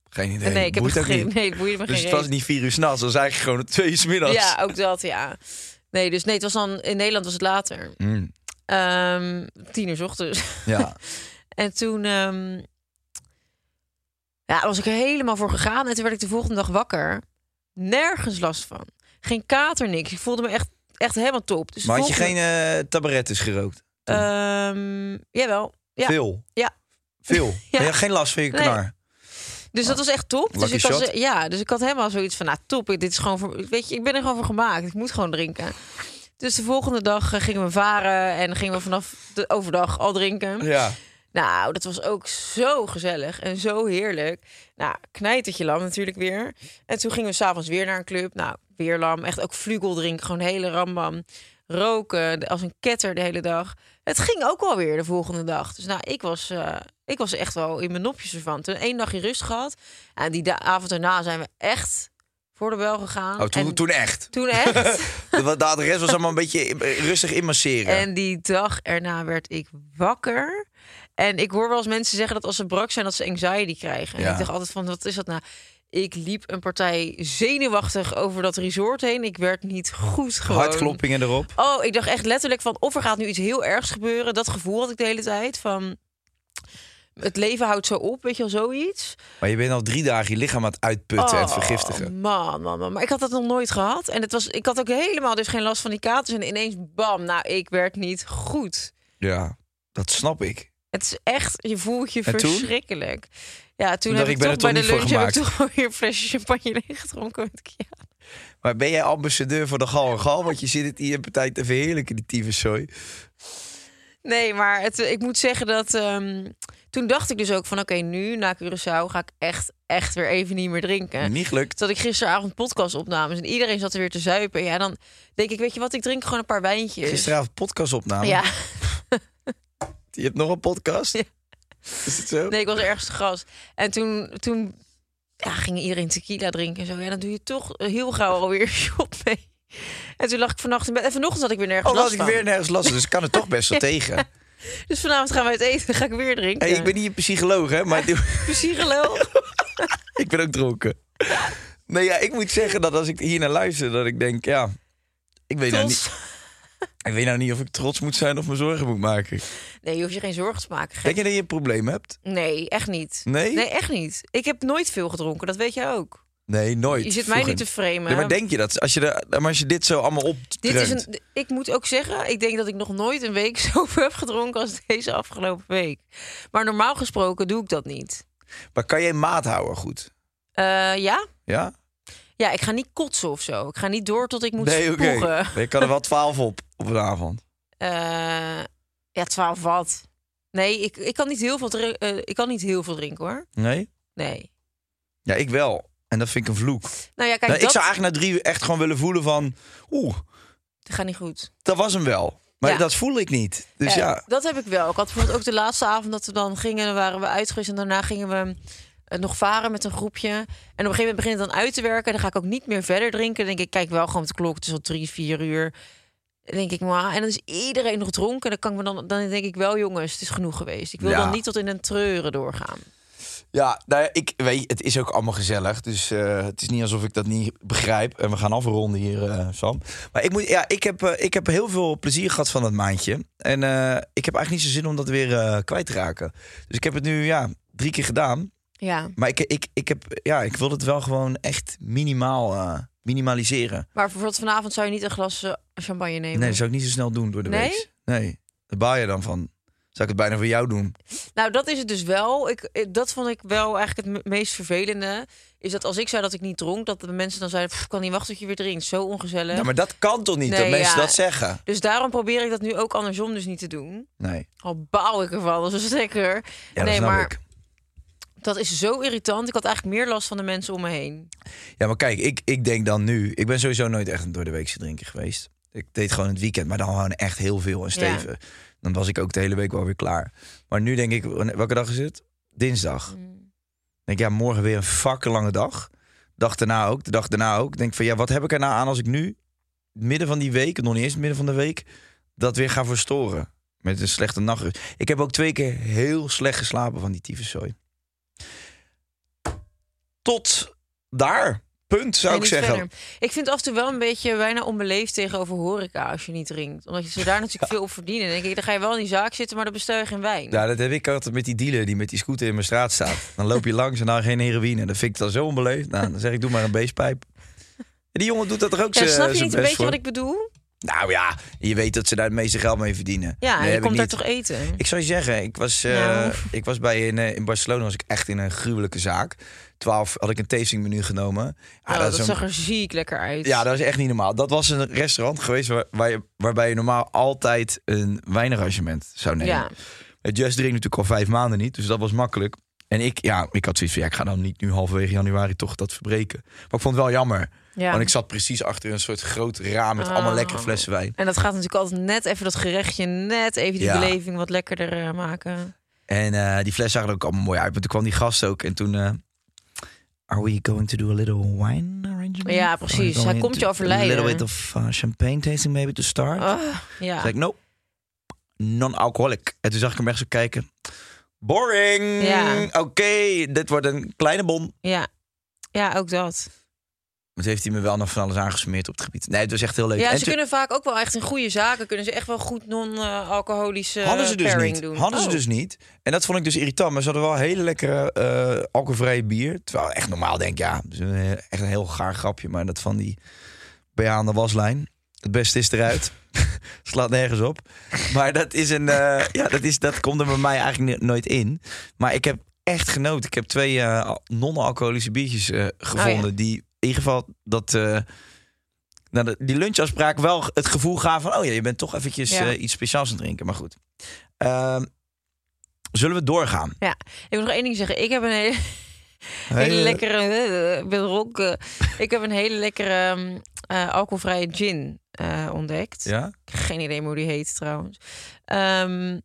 Speaker 1: Geen idee.
Speaker 3: Nee, ik heb
Speaker 1: Boeit
Speaker 3: echt
Speaker 1: ook
Speaker 3: geen...
Speaker 1: niet.
Speaker 3: Nee, het boeide me
Speaker 1: Dus
Speaker 3: geen
Speaker 1: het was
Speaker 3: reet.
Speaker 1: niet vier uur s'nachts, het was eigenlijk gewoon twee uur 's middags.
Speaker 3: Ja, ook dat, ja. Nee, dus nee, het was dan... In Nederland was het later.
Speaker 1: Mm,
Speaker 3: Ehm, tien uur 's ochtends.
Speaker 1: ja.
Speaker 3: En toen... ehm, ja, daar was ik er helemaal voor gegaan. En toen werd ik de volgende dag wakker. Nergens last van. Geen kater, niks. Ik voelde me echt, echt helemaal top. Dus de
Speaker 1: Maar had je
Speaker 3: volgende-
Speaker 1: geen eh tabarettes gerookt?
Speaker 3: Ehm, jawel. Ja.
Speaker 1: Veel?
Speaker 3: Ja.
Speaker 1: Veel? Maar je had geen last van je
Speaker 3: Nee.
Speaker 1: knar?
Speaker 3: Dus dat was echt top. Dus
Speaker 1: Lucky
Speaker 3: ik, had,
Speaker 1: shot.
Speaker 3: ze- ja, dus ik had helemaal zoiets van, nou top, ik- dit is gewoon voor, weet je, ik ben er gewoon voor gemaakt. Ik moet gewoon drinken. Dus de volgende dag eh, gingen we varen en gingen we vanaf de overdag al drinken.
Speaker 1: Ja.
Speaker 3: Nou, dat was ook zo gezellig en zo heerlijk. Nou, knijtertje lam natuurlijk weer. En toen gingen we s'avonds weer naar een club. Nou, weer lam. Echt ook vlugel drinken, gewoon hele rambam. Roken de- als een ketter de hele dag. Het ging ook alweer de volgende dag. Dus nou, ik was, eh, ik was echt wel in mijn nopjes ervan. Toen één dagje rust gehad. En die da- avond daarna zijn we echt voor de bel gegaan.
Speaker 1: Oh, toen,
Speaker 3: En
Speaker 1: toen echt.
Speaker 3: toen echt.
Speaker 1: De, de adres was allemaal een beetje in- rustig inmasseren.
Speaker 3: En die dag erna werd ik wakker. En ik hoor wel eens mensen zeggen dat als ze brak zijn, dat ze anxiety krijgen. En
Speaker 1: Ja.
Speaker 3: ik dacht altijd van, wat is dat nou? Ik liep een partij zenuwachtig over dat resort heen. Ik werd niet goed gewoon.
Speaker 1: Hartkloppingen erop.
Speaker 3: Oh, ik dacht echt letterlijk van, of er gaat nu iets heel ergs gebeuren. Dat gevoel had ik de hele tijd van... Het leven houdt zo op, weet je wel, zoiets.
Speaker 1: Maar je bent al drie dagen je lichaam aan het uitputten en het
Speaker 3: Oh,
Speaker 1: vergiftigen.
Speaker 3: Man, man, man. Maar ik had dat nog nooit gehad. En het was, ik had ook helemaal dus geen last van die katers. En ineens, bam, nou, ik werd niet goed.
Speaker 1: Ja, dat snap ik.
Speaker 3: Het is echt, je voelt je
Speaker 1: En toen?
Speaker 3: verschrikkelijk. Ja, toen
Speaker 1: dacht
Speaker 3: heb
Speaker 1: ik,
Speaker 3: ik
Speaker 1: ben
Speaker 3: toch
Speaker 1: er
Speaker 3: bij
Speaker 1: toch
Speaker 3: de
Speaker 1: niet voor
Speaker 3: lunch heb ik
Speaker 1: gemaakt.
Speaker 3: toch wel weer een flesje champagne leeggedronken. Met Kia.
Speaker 1: Maar ben jij ambassadeur voor de Gal en Gal? Want je zit het hier een partij te verheerlijken, die tyfuszooi.
Speaker 3: Nee, maar het, ik moet zeggen dat ehm, toen dacht ik dus ook van oké, nu na Curaçao ga ik echt, echt weer even niet meer drinken.
Speaker 1: Niet gelukt.
Speaker 3: Dat ik gisteravond podcastopnames en iedereen zat er weer te zuipen. Ja, dan denk ik, weet je wat, ik drink gewoon een paar wijntjes.
Speaker 1: Gisteravond podcast opname.
Speaker 3: Ja,
Speaker 1: Je hebt nog een podcast?
Speaker 3: Ja.
Speaker 1: Is het zo? Dus
Speaker 3: nee, ik was ergens te gast. En toen, toen ja, ging iedereen tequila drinken en zo. Ja, dan doe je toch heel gauw alweer shop mee. En toen lag ik vannacht in bed. En vanochtend had ik weer nergens
Speaker 1: Oh,
Speaker 3: last
Speaker 1: had ik
Speaker 3: van.
Speaker 1: weer nergens last van, dus ik kan het toch best wel tegen.
Speaker 3: Dus vanavond gaan we uit eten. Dan ga ik weer drinken.
Speaker 1: Hey, ik ben niet een psycholoog, hè, maar
Speaker 3: psycholoog.
Speaker 1: ik ben ook dronken. Nee, ja, ik moet zeggen dat als ik hier naar luister, dat ik denk, ja, ik weet, nou niet,
Speaker 3: Trots.
Speaker 1: ik weet nou niet of ik trots moet zijn of me zorgen moet maken.
Speaker 3: Nee, je hoeft je geen zorgen te maken. gek.
Speaker 1: Denk je dat je een probleem hebt?
Speaker 3: Nee, echt niet.
Speaker 1: Nee?
Speaker 3: Nee, echt niet. Ik heb nooit veel gedronken. Dat weet jij ook.
Speaker 1: Nee, nooit.
Speaker 3: Je zit mij
Speaker 1: Vroeger.
Speaker 3: nu te framen.
Speaker 1: Ja, maar denk je dat? Als je, de, maar als je dit zo allemaal optrekt...
Speaker 3: Dit is een, ik moet ook zeggen, ik denk dat ik nog nooit een week zoveel heb gedronken als deze afgelopen week. Maar normaal gesproken doe ik dat niet.
Speaker 1: Maar kan jij maat houden goed?
Speaker 3: Eh, ja?
Speaker 1: Ja?
Speaker 3: Ja, ik ga niet kotsen of zo. Ik ga niet door tot ik moet
Speaker 1: nee,
Speaker 3: spugen.
Speaker 1: Ik kan er wel twaalf op, op een avond.
Speaker 3: Eh, ja, 12 wat. Nee, ik, ik, kan niet heel veel drin- eh, ik kan niet heel veel drinken hoor.
Speaker 1: Nee?
Speaker 3: Nee.
Speaker 1: Ja, ik wel. En dat vind ik een vloek.
Speaker 3: Nou ja, kijk,
Speaker 1: Nou,
Speaker 3: dat...
Speaker 1: Ik zou eigenlijk na drie uur echt gewoon willen voelen van... Oeh,
Speaker 3: Het gaat niet goed.
Speaker 1: dat was hem wel. Maar
Speaker 3: Ja.
Speaker 1: dat voel ik niet. Dus
Speaker 3: Ja,
Speaker 1: ja,
Speaker 3: Dat heb ik wel. Ik had bijvoorbeeld ook de laatste avond dat we dan gingen, dan waren we uit geweest en daarna gingen we eh, nog varen met een groepje. En op een gegeven moment begint het dan uit te werken. Dan ga ik ook niet meer verder drinken. Dan denk ik, kijk wel gewoon op de klok, het is al drie, vier uur. Dan denk ik, maar en dan is iedereen nog dronken. Dan kan ik me dan, dan denk ik wel, jongens, het is genoeg geweest. Ik wil
Speaker 1: Ja.
Speaker 3: dan niet tot in een treuren doorgaan.
Speaker 1: Ja, nou ja, ik weet, je, het is ook allemaal gezellig. Dus eh, het is niet alsof ik dat niet begrijp. En we gaan afronden hier, eh, Sam. Maar ik, moet, ja, ik, heb, eh, ik heb heel veel plezier gehad van dat maandje. En eh, ik heb eigenlijk niet zo zin om dat weer eh, kwijt te raken. Dus ik heb het nu ja, drie keer gedaan.
Speaker 3: Ja.
Speaker 1: Maar ik, ik, ik, heb, ja, ik wil het wel gewoon echt minimaal eh, minimaliseren.
Speaker 3: Maar bijvoorbeeld vanavond zou je niet een glas eh, champagne nemen.
Speaker 1: Nee, dat zou ik niet zo snel doen door de
Speaker 3: Nee?
Speaker 1: week. Nee, daar baal je dan van. Zou ik het bijna voor jou doen?
Speaker 3: Nou, dat is het dus wel. Ik, ik- dat vond ik wel eigenlijk het me- meest vervelende. Is dat als ik zei dat ik niet dronk, dat de mensen dan zeiden: "Pff, ik kan niet wachten tot je weer drinkt. Zo ongezellig.
Speaker 1: Nou, maar dat kan toch niet,
Speaker 3: Eh? Nee,
Speaker 1: dat mensen
Speaker 3: ja.
Speaker 1: dat zeggen?
Speaker 3: Dus daarom probeer ik dat nu ook andersom dus niet te doen.
Speaker 1: Nee,
Speaker 3: Al baal ik ervan, dat is lekker.
Speaker 1: ja, dat
Speaker 3: nee,
Speaker 1: snap
Speaker 3: maar
Speaker 1: ik.
Speaker 3: dat is zo irritant. Ik had eigenlijk meer last van de mensen om me heen.
Speaker 1: Ja, maar kijk, ik, ik denk dan nu... Ik ben sowieso nooit echt een doordeweekse drinker geweest. Ik deed gewoon het weekend, maar dan gewoon echt heel veel en stevig. Dan was ik ook de hele week wel weer klaar. Maar nu denk ik, welke dag is het? Dinsdag. denk ja, morgen weer een fucking lange dag. Dag daarna ook, de dag daarna ook. Denk van ja, wat heb ik er nou aan als ik nu midden van die week, nog niet eens midden van de week, dat weer ga verstoren met een slechte nachtrust. Ik heb ook twee keer heel slecht geslapen van die tyfuszooi. Tot daar. Punt zou
Speaker 3: En
Speaker 1: ik
Speaker 3: niet
Speaker 1: zeggen.
Speaker 3: verder. Ik vind het af en toe wel een beetje bijna onbeleefd tegenover horeca als je niet drinkt. Omdat ze daar natuurlijk veel op verdienen. Dan denk ik, dan ga je wel in die zaak zitten, maar dan bestel je geen wijn.
Speaker 1: Ja, dat heb ik altijd met die dealer die met die scooter in mijn straat staat. Dan loop je langs en dan geen heroïne. Dat vind ik dan zo onbeleefd. Nou, dan zeg ik doe maar een beestpijp. En die jongen doet dat er ook
Speaker 3: Ja,
Speaker 1: zijn-
Speaker 3: snap je
Speaker 1: zijn
Speaker 3: niet een
Speaker 1: eh, best
Speaker 3: beetje
Speaker 1: voor.
Speaker 3: wat ik bedoel?
Speaker 1: Nou ja, je weet dat ze daar het meeste geld mee verdienen.
Speaker 3: Ja,
Speaker 1: Nee,
Speaker 3: en je
Speaker 1: heb
Speaker 3: komt
Speaker 1: ik
Speaker 3: daar
Speaker 1: niet.
Speaker 3: toch eten?
Speaker 1: Ik zou je zeggen, ik was, eh,
Speaker 3: Nou.
Speaker 1: ik was bij in, eh, in Barcelona was ik echt in een gruwelijke zaak. 12 had ik een tastingmenu genomen. Ah, dat
Speaker 3: Oh, dat
Speaker 1: is een-
Speaker 3: zag er ziek lekker uit.
Speaker 1: ja, dat is echt niet normaal. Dat was een restaurant geweest waar, waar je, waarbij je normaal altijd een wijnarrangement zou nemen.
Speaker 3: Ja.
Speaker 1: Het Just Drink natuurlijk al vijf maanden niet, dus dat was makkelijk. En ik, ja, ik had zoiets van, ja, ik ga dan niet nu halverwege januari toch dat verbreken. Maar ik vond het wel jammer,
Speaker 3: Ja.
Speaker 1: want ik zat precies achter een soort groot raam met allemaal
Speaker 3: Oh.
Speaker 1: lekkere flessen wijn.
Speaker 3: En dat gaat natuurlijk altijd net even dat gerechtje, net even die
Speaker 1: Ja.
Speaker 3: beleving wat lekkerder eh, maken.
Speaker 1: En eh, die fles zag er ook allemaal mooi uit. Maar toen kwam die gast ook en toen... eh, Are we going to do a little wine arrangement?
Speaker 3: Ja,
Speaker 1: Are we
Speaker 3: precies. Hij
Speaker 1: going
Speaker 3: komt je
Speaker 1: to-
Speaker 3: overlijden.
Speaker 1: A little bit of eh, champagne tasting maybe to start. Toen
Speaker 3: Ah, ja.
Speaker 1: zei ik, no, non-alcoholic. En toen zag ik hem echt zo kijken. Boring!
Speaker 3: Ja.
Speaker 1: Oké, dit wordt een kleine bon.
Speaker 3: ja. Ja, ook dat.
Speaker 1: Maar toen heeft hij me wel nog van alles aangesmeerd op het gebied. Nee, het was echt heel leuk.
Speaker 3: Ja,
Speaker 1: En
Speaker 3: ze
Speaker 1: toen-
Speaker 3: kunnen vaak ook wel echt in goede zaken. Kunnen ze echt wel goed non-alcoholische
Speaker 1: Hadden ze dus
Speaker 3: eh, pairing
Speaker 1: niet.
Speaker 3: doen.
Speaker 1: Hadden ze
Speaker 3: Oh.
Speaker 1: dus niet. En dat vond ik dus irritant. Maar ze hadden wel hele lekkere eh alcoholvrije bier. Terwijl echt normaal denk ik, ja, dat is een he- echt een heel gaar grapje. Maar dat van die BH aan de waslijn. Het beste is eruit. Slaat nergens op. Maar dat is een. eh, ja, dat, is, dat komt er bij mij eigenlijk ni- nooit in. Maar ik heb echt genoten. Ik heb twee eh, al- non-alcoholische biertjes eh, gevonden.
Speaker 3: Oh ja.
Speaker 1: Die in ieder geval dat. eh, nou, dat- die lunchafspraak wel g- het gevoel gaven van... oh ja, je bent toch eventjes
Speaker 3: Ja.
Speaker 1: eh, iets speciaals aan het drinken. Maar goed. Ehm, zullen we doorgaan?
Speaker 3: Ja, ik wil nog één ding zeggen. Ik heb een hele, hele lekkere... eh, Ik ben dronken. Ik heb een hele lekkere ehm, eh, alcoholvrije gin eh, ontdekt.
Speaker 1: Ja?
Speaker 3: Geen idee meer hoe die heet trouwens. Ehm,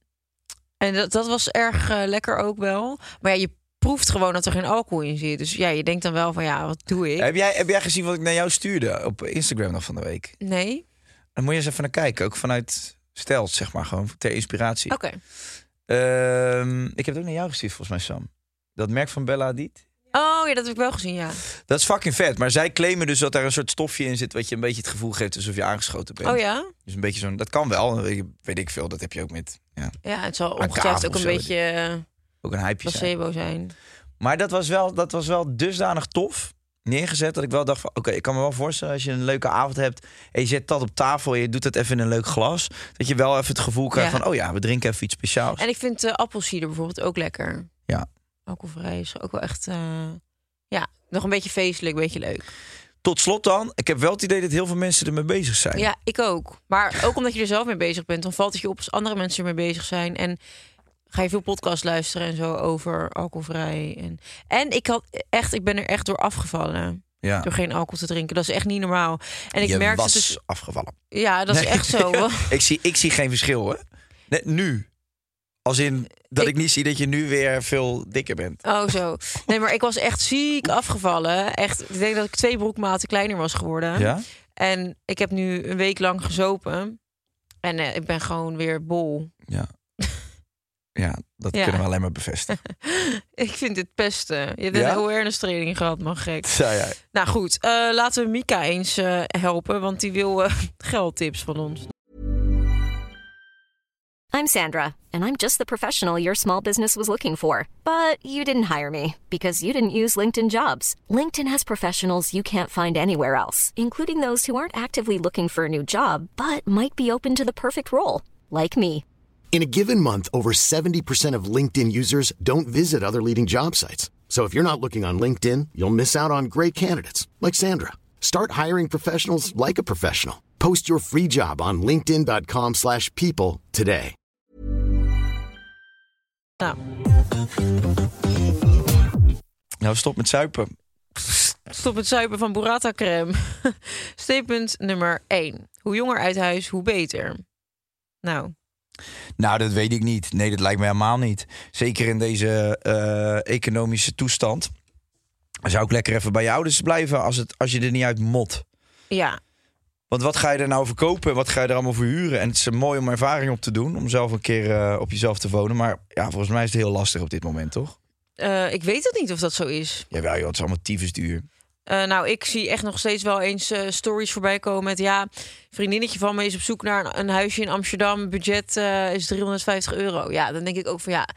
Speaker 3: en dat, dat was erg eh, lekker ook wel. Maar ja, je proeft gewoon dat er geen alcohol in zit. Dus ja, je denkt dan wel van ja, wat doe ik?
Speaker 1: Heb, jij, heb jij gezien wat ik naar jou stuurde op Instagram nog van de week?
Speaker 3: Nee?
Speaker 1: Dan moet je eens even naar kijken. Ook vanuit stelt, zeg maar. Gewoon ter inspiratie.
Speaker 3: Oké.
Speaker 1: Ehm, ik heb het ook naar jou gestuurd, volgens mij, Sam. Dat merk van Bella Hadid.
Speaker 3: Oh ja, dat heb ik wel gezien, ja.
Speaker 1: Dat is fucking vet. Maar zij claimen dus dat er een soort stofje in zit... wat je een beetje het gevoel geeft alsof je aangeschoten bent.
Speaker 3: Oh ja?
Speaker 1: Dus een beetje zo'n... Dat kan wel. Weet ik veel. Dat heb je ook met... Ja,
Speaker 3: Ja, het zal
Speaker 1: Aan
Speaker 3: ongetwijfeld
Speaker 1: tafel
Speaker 3: ook
Speaker 1: of
Speaker 3: een
Speaker 1: zo,
Speaker 3: beetje eh,
Speaker 1: ook een hypeje zijn.
Speaker 3: placebo zijn.
Speaker 1: Maar dat was, wel, dat was wel dusdanig tof neergezet... dat ik wel dacht van... Oké, ik kan me wel voorstellen als je een leuke avond hebt... en je zet dat op tafel en je doet dat even in een leuk glas... dat je wel even het gevoel krijgt
Speaker 3: Ja.
Speaker 1: van... oh ja, we drinken even iets speciaals.
Speaker 3: En ik vind eh, appelsieder bijvoorbeeld ook lekker.
Speaker 1: Ja.
Speaker 3: Alcoholvrij is ook wel echt... eh, ja, nog een beetje feestelijk, een beetje leuk.
Speaker 1: Tot slot dan. Ik heb wel het idee dat heel veel mensen ermee bezig zijn.
Speaker 3: Ja, ik ook. Maar ook omdat je er zelf mee bezig bent, dan valt het je op als andere mensen ermee bezig zijn. En ga je veel podcasts luisteren en zo over alcoholvrij. En, en ik, had echt, ik ben er echt door afgevallen.
Speaker 1: Ja.
Speaker 3: Door geen alcohol te drinken. Dat is echt niet normaal. En ik
Speaker 1: je
Speaker 3: merk
Speaker 1: was
Speaker 3: het dus.
Speaker 1: afgevallen.
Speaker 3: Ja, dat is
Speaker 1: Nee.
Speaker 3: echt zo.
Speaker 1: ik, zie, ik zie geen verschil, hè? Net nu. Als in dat ik...
Speaker 3: Ik-
Speaker 1: niet zie dat je nu weer veel dikker bent.
Speaker 3: Oh, zo. Nee, maar ik was echt ziek afgevallen. Echt, ik denk dat ik twee broekmaten kleiner was geworden. En ik heb nu een week lang gezopen. En eh, ik ben gewoon weer bol.
Speaker 1: Ja. Ja, dat
Speaker 3: Ja.
Speaker 1: kunnen we alleen maar bevestigen.
Speaker 3: Ik vind dit pesten. Je hebt
Speaker 1: Ja?
Speaker 3: een awareness training gehad, man gek.
Speaker 1: Zou jij?
Speaker 3: Nou goed, eh, laten we Mika eens eh, helpen, want die wil eh, geldtips van ons.
Speaker 5: I'm Sandra, and I'm just the professional your small business was looking for. But you didn't hire me because you didn't use LinkedIn jobs. LinkedIn has professionals you can't find anywhere else, including those who aren't actively looking for a new job but might be open to the perfect role, like me.
Speaker 6: In a given month, over 70% of LinkedIn users don't visit other leading job sites. So if you're not looking on LinkedIn, you'll miss out on great candidates like Sandra. Start hiring professionals like a professional. Post your free job on linkedin.com/people slash people today.
Speaker 3: Nou,
Speaker 1: Nou, stop met zuipen.
Speaker 3: stop het zuipen van burrata crème. Statement nummer 1. Hoe jonger uit huis, hoe beter. Nou,
Speaker 1: Nou, dat weet ik niet. Nee, dat lijkt mij helemaal niet. Zeker in deze eh, economische toestand. Zou ik lekker even bij je ouders blijven als, het, als je er niet uit mot.
Speaker 3: ja.
Speaker 1: Want wat ga je er nou verkopen? Wat ga je er allemaal voor huren? En het is eh, mooi om ervaring op te doen. Om zelf een keer eh, op jezelf te wonen. Maar ja, volgens mij is het heel lastig op dit moment, toch?
Speaker 3: Eh, ik weet het niet of dat zo is.
Speaker 1: Jawel, joh, het is allemaal tyfus duur.
Speaker 3: Eh, nou, ik zie echt nog steeds wel eens eh, stories voorbij komen met... ja, vriendinnetje van me is op zoek naar een, een huisje in Amsterdam. Budget eh, is 350 euro. Ja, dan denk ik ook van ja,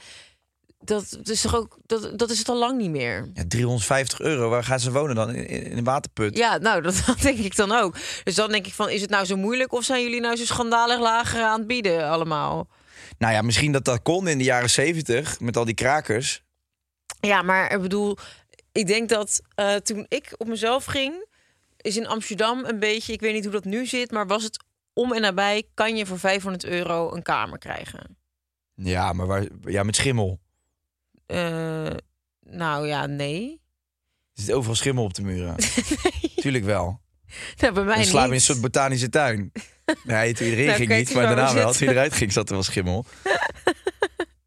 Speaker 3: dat, dat is toch ook... Dat, dat is het al lang niet meer.
Speaker 1: Ja, 350 euro, waar gaan ze wonen dan? In, in in een waterput?
Speaker 3: Ja, nou, dat, dat denk ik dan ook. Dus dan denk ik van, is het nou zo moeilijk... of zijn jullie nou zo schandalig lager aan het bieden allemaal?
Speaker 1: Nou ja, misschien dat dat kon in de jaren 70 met al die krakers.
Speaker 3: Ja, maar ik bedoel, ik denk dat eh, toen ik op mezelf ging, is in Amsterdam een beetje, ik weet niet hoe dat nu zit, maar was het om en nabij, kan je voor 500 euro een kamer krijgen?
Speaker 1: Ja, maar waar, ja, met schimmel.
Speaker 3: Eh, nou ja, nee.
Speaker 1: Er zit overal schimmel op de muren. Tuurlijk wel.
Speaker 3: Nou, bij mij
Speaker 1: En
Speaker 3: niet.
Speaker 1: slapen in een soort botanische tuin. Nee, toen iedereen
Speaker 3: Nou,
Speaker 1: ging
Speaker 3: kijk
Speaker 1: niet,
Speaker 3: eens
Speaker 1: maar
Speaker 3: waar we
Speaker 1: daarna wel.
Speaker 3: zitten.
Speaker 1: Toen iedereen ging, zat er wel schimmel.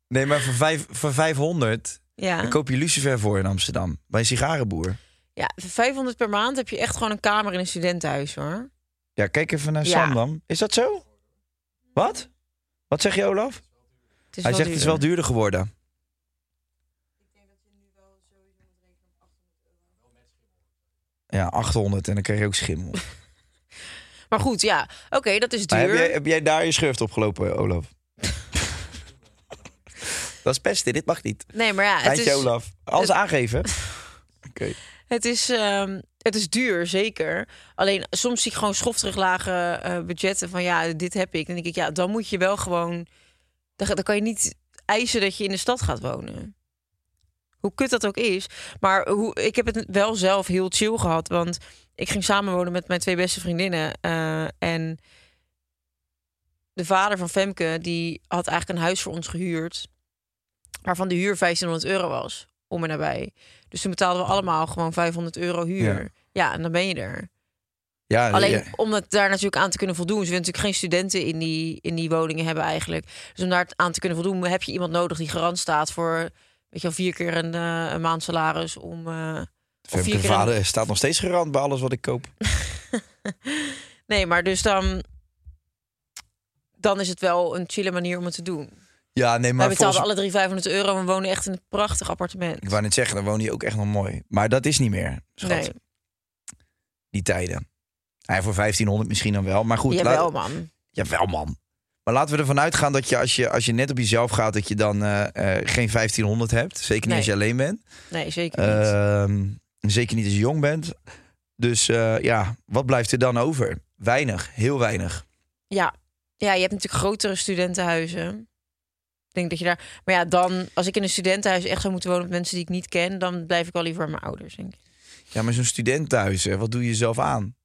Speaker 1: Nee, maar voor, vijf, voor 500
Speaker 3: ja.
Speaker 1: dan koop je lucifer voor in Amsterdam. Bij een sigarenboer.
Speaker 3: ja, voor 500 per maand heb je echt gewoon een kamer in een studentenhuis, hoor.
Speaker 1: Ja, kijk even naar
Speaker 3: Ja.
Speaker 1: Sam dan. Is dat zo? Wat? Wat zeg je, Olaf?
Speaker 3: Het
Speaker 1: Hij
Speaker 3: is wel
Speaker 1: zegt het is
Speaker 3: duur.
Speaker 1: wel duurder geworden. Ja, 800 en dan krijg je ook schimmel.
Speaker 3: Maar goed, ja, oké, dat is
Speaker 1: Maar
Speaker 3: duur.
Speaker 1: heb, jij, heb jij daar je schurft opgelopen, Olaf? dat is pesten, dit mag niet.
Speaker 3: Nee, maar ja, het
Speaker 1: Eindje,
Speaker 3: is,
Speaker 1: Olaf. Alles
Speaker 3: het-
Speaker 1: aangeven. Oké.
Speaker 3: Het is, ehm, het is duur, zeker. Alleen soms zie ik gewoon schofterig lage eh, budgetten van ja, dit heb ik. Dan denk ik, ja, dan moet je wel gewoon. Dan, ga- dan kan je niet eisen dat je in de stad gaat wonen. Hoe kut dat ook is. Maar hoe, ik heb het wel zelf heel chill gehad. Want ik ging samenwonen met mijn twee beste vriendinnen. eh, en de vader van Femke, die had eigenlijk een huis voor ons gehuurd. Waarvan de huur 1500 euro was. Om en nabij. Dus toen betaalden we allemaal gewoon 500 euro huur.
Speaker 1: Ja.
Speaker 3: Ja, en dan ben je er.
Speaker 1: Ja,
Speaker 3: Alleen
Speaker 1: ja.
Speaker 3: om dat daar natuurlijk aan te kunnen voldoen. Ze willen natuurlijk geen studenten in die, in die woningen hebben eigenlijk. Dus om daar aan te kunnen voldoen heb je iemand nodig die garant staat voor... weet je wel, vier keer een, eh, een maand salaris om... eh, of
Speaker 1: Femke
Speaker 3: vier keer een-
Speaker 1: vader staat nog steeds gerand bij alles wat ik koop.
Speaker 3: Nee, maar dus dan... Dan is het wel een chille manier om het te doen.
Speaker 1: Ja, nee, maar
Speaker 3: Wij betaalden alle drie 500 euro. en We wonen echt in een prachtig appartement.
Speaker 1: Ik wou net zeggen, dan woon je ook echt nog mooi. Maar dat is niet meer, schat.
Speaker 3: Nee,
Speaker 1: Die tijden. Hij voor 1500 misschien dan wel. Maar goed,
Speaker 3: jawel
Speaker 1: laat-
Speaker 3: man.
Speaker 1: Jawel, man. Maar laten we ervan uitgaan dat je als je, als je net op jezelf gaat, dat je dan eh, eh, geen 1500 hebt. Zeker niet
Speaker 3: Nee.
Speaker 1: als je alleen bent.
Speaker 3: Nee, zeker niet.
Speaker 1: Ehm, zeker niet als je jong bent. Dus eh, ja, wat blijft er dan over? Weinig, heel weinig.
Speaker 3: Ja. ja, je hebt natuurlijk grotere studentenhuizen. Ik denk dat je daar. Maar ja, dan, als ik in een studentenhuis echt zou moeten wonen met mensen die ik niet ken, dan blijf ik wel liever bij mijn ouders. Denk ik.
Speaker 1: Ja, maar zo'n student thuis, hè, wat doe je jezelf aan?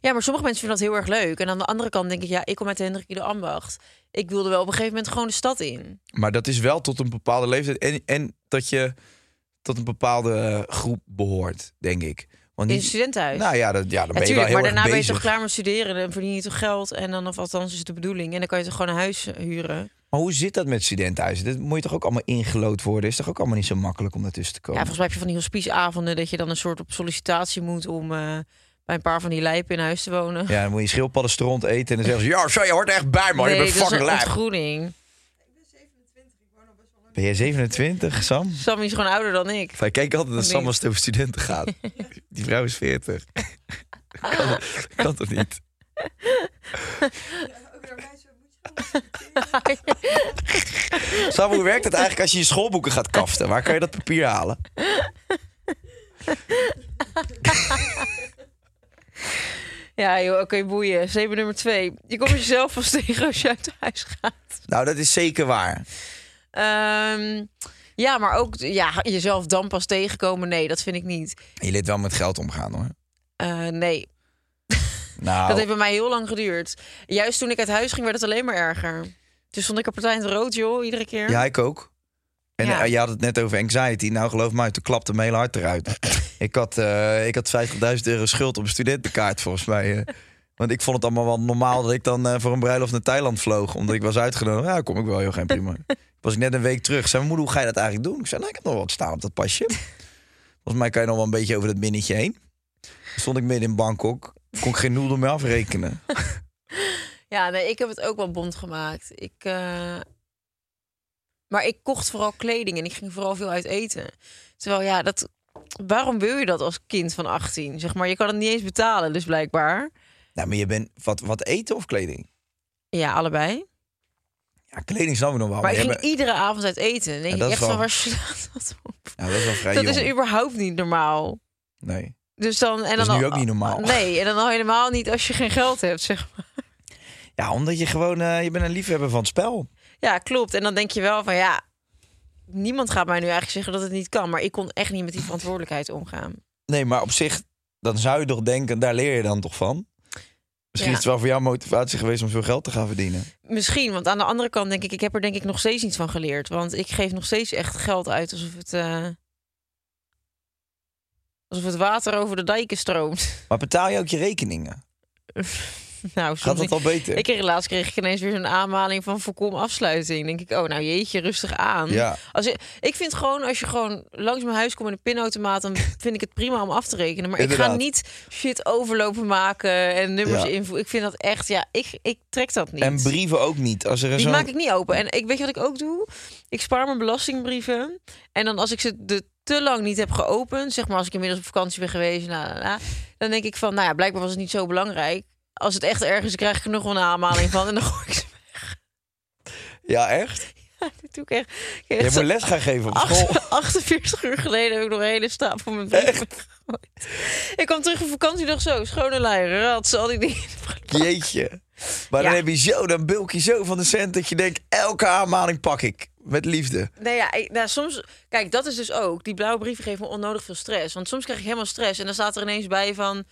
Speaker 3: Ja, maar sommige mensen vinden dat heel erg leuk. En aan de andere kant denk ik, ja, ik kom uit de Hendrik de Ambacht. Ik wilde wel op een gegeven moment gewoon de stad in.
Speaker 1: Maar dat is wel tot een bepaalde leeftijd. En, en dat je tot een bepaalde eh, groep behoort, denk ik. Want
Speaker 3: In een
Speaker 1: niet,
Speaker 3: studentenhuis.
Speaker 1: nou ja, dat, ja, dan ben je wel
Speaker 3: Natuurlijk,
Speaker 1: heel
Speaker 3: maar
Speaker 1: erg
Speaker 3: daarna ben je
Speaker 1: bezig.
Speaker 3: toch klaar met studeren. Dan verdien je toch geld. En dan, of althans, is het de bedoeling. En dan kan je toch gewoon een huis eh, huren.
Speaker 1: Maar hoe zit dat met studentenhuizen? Dat moet je toch ook allemaal ingelood worden? Is toch ook allemaal niet zo makkelijk om daartussen te
Speaker 3: Ja,
Speaker 1: komen?
Speaker 3: volgens mij heb je van die hospiceavonden dat je dan een soort op sollicitatie moet om eh, bij een paar van die lijpen in huis te wonen.
Speaker 1: Ja, dan moet je schildpadden stront eten en dan zeggen ze... Ja, zo, je hoort echt bij, man. je
Speaker 3: nee,
Speaker 1: bent
Speaker 3: dat is
Speaker 1: fucking
Speaker 3: een
Speaker 1: lijp.
Speaker 3: ontgroening.
Speaker 1: Ben jij 27, Sam?
Speaker 3: Sammy is gewoon ouder dan ik.
Speaker 1: Ik kijk altijd naar Sam
Speaker 3: niet.
Speaker 1: als het over studenten gaat. Die vrouw is 40. kan, dat- kan toch niet? Sam, hoe werkt het eigenlijk als je je schoolboeken gaat kaften? Waar kan je dat papier halen?
Speaker 3: Ja, joh, oké, boeien. Zeven nummer twee. Je komt jezelf vast tegen als je uit huis gaat.
Speaker 1: Nou, dat is zeker waar.
Speaker 3: Ehm, ja, maar ook ja, jezelf dan pas tegenkomen. Nee, dat vind ik niet.
Speaker 1: Je leert wel met geld omgaan, hoor.
Speaker 3: Eh, nee,
Speaker 1: Nou,
Speaker 3: dat heeft bij mij heel lang geduurd. Juist toen ik uit huis ging, werd het alleen maar erger. Dus stond ik er partij in het rood, joh, iedere keer.
Speaker 1: Ja, ik ook. En
Speaker 3: Ja.
Speaker 1: eh, je had het net over anxiety. Nou, geloof mij, toen klapte mijn hele hart eruit. ik had, eh, ik had 50.000 euro schuld op een studentenkaart, volgens mij. eh. want ik vond het allemaal wel normaal dat ik dan eh, voor een bruiloft naar Thailand vloog. Omdat ik was uitgenodigd. Ja, kom ik wel, heel geen prima. was ik net een week terug. Zei mijn moeder, hoe ga je dat eigenlijk doen? Ik zei, nou, ik heb nog wat staan op dat pasje. Volgens mij kan je nog wel een beetje over dat minnetje heen. Toen Stond ik midden in Bangkok. Kon ik geen noedel meer afrekenen.
Speaker 3: Ja, nee, ik heb het ook wel bond gemaakt. Ik, eh, Maar ik kocht vooral kleding en ik ging vooral veel uit eten. Terwijl, ja, dat... waarom wil je dat als kind van 18? Zeg maar, je kan het niet eens betalen, dus blijkbaar.
Speaker 1: Nou, maar je bent, wat, wat eten of kleding?
Speaker 3: Ja, allebei.
Speaker 1: Oh, Ja, kleding snap ik nog wel.
Speaker 3: maar
Speaker 1: je
Speaker 3: ik ging
Speaker 1: bent-
Speaker 3: iedere avond uit eten. En
Speaker 1: Ja,
Speaker 3: denk
Speaker 1: dat
Speaker 3: ik
Speaker 1: is
Speaker 3: echt van,
Speaker 1: wel-
Speaker 3: waar slaat dat op?
Speaker 1: Nou, dat is wel vrij
Speaker 3: dat
Speaker 1: jong.
Speaker 3: is überhaupt niet normaal.
Speaker 1: Nee.
Speaker 3: Dus dan, en
Speaker 1: Dat is
Speaker 3: dan
Speaker 1: nu
Speaker 3: al-
Speaker 1: ook niet normaal.
Speaker 3: Nee, en dan al helemaal niet als je geen geld hebt, zeg maar.
Speaker 1: Ja, omdat je gewoon, eh, je bent een liefhebber van het spel.
Speaker 3: Ja, klopt. En dan denk je wel van ja, niemand gaat mij nu eigenlijk zeggen dat het niet kan. Maar ik kon echt niet met die verantwoordelijkheid omgaan.
Speaker 1: Nee, maar op zich, dan zou je toch denken, daar leer je dan toch van? Misschien
Speaker 3: Ja.
Speaker 1: is het wel voor jou motivatie geweest om veel geld te gaan verdienen.
Speaker 3: Misschien, want aan de andere kant denk ik, ik heb er denk ik nog steeds iets van geleerd. Want ik geef nog steeds echt geld uit alsof het, eh, alsof het water over de dijken stroomt.
Speaker 1: Maar betaal je ook je rekeningen?
Speaker 3: nou, soms
Speaker 1: Gaat dat
Speaker 3: niet.
Speaker 1: al beter?
Speaker 3: Ik kreeg laatst kreeg ik ineens weer zo'n aanmaling van voorkom afsluiting. Denk ik, oh nou jeetje, rustig aan.
Speaker 1: Ja.
Speaker 3: Als je, ik vind gewoon, als je gewoon langs mijn huis komt met een pinautomaat, dan vind ik het prima om af te rekenen. Maar ik
Speaker 1: Inderdaad.
Speaker 3: ga niet shit overlopen maken en nummers
Speaker 1: Ja.
Speaker 3: invoeren. Ik vind dat echt, ja, ik, ik trek dat niet.
Speaker 1: En brieven ook niet. Als er
Speaker 3: Die
Speaker 1: zo'n-
Speaker 3: maak ik niet open. En ik weet je wat ik ook doe? Ik spaar mijn belastingbrieven. En dan als ik ze de te lang niet heb geopend, zeg maar als ik inmiddels op vakantie ben geweest, la, la, la, dan denk ik van, nou ja, blijkbaar was het niet zo belangrijk. Als het echt erg is, krijg ik er nog wel een aanmaling van. En dan gooi ik ze
Speaker 1: Ja, echt?
Speaker 3: weg. Dat doe ik echt. Ik heb
Speaker 1: Jij
Speaker 3: echt zo
Speaker 1: moet les gaan geven op
Speaker 3: acht-
Speaker 1: school.
Speaker 3: 48 uur geleden heb ik nog een hele stapel met brieven gegooid. Ik kwam terug van vakantie nog zo. Schone lijn, rats, al die dingen.
Speaker 1: Jeetje. Maar dan
Speaker 3: Ja.
Speaker 1: heb je zo, dan bulk je zo van de cent dat je denkt, elke aanmaling pak ik. Met liefde.
Speaker 3: Nee, ja, ik- nou, soms... Kijk, dat is dus ook... Die blauwe brieven geven me onnodig veel stress. Want soms krijg ik helemaal stress. En dan staat er ineens bij van...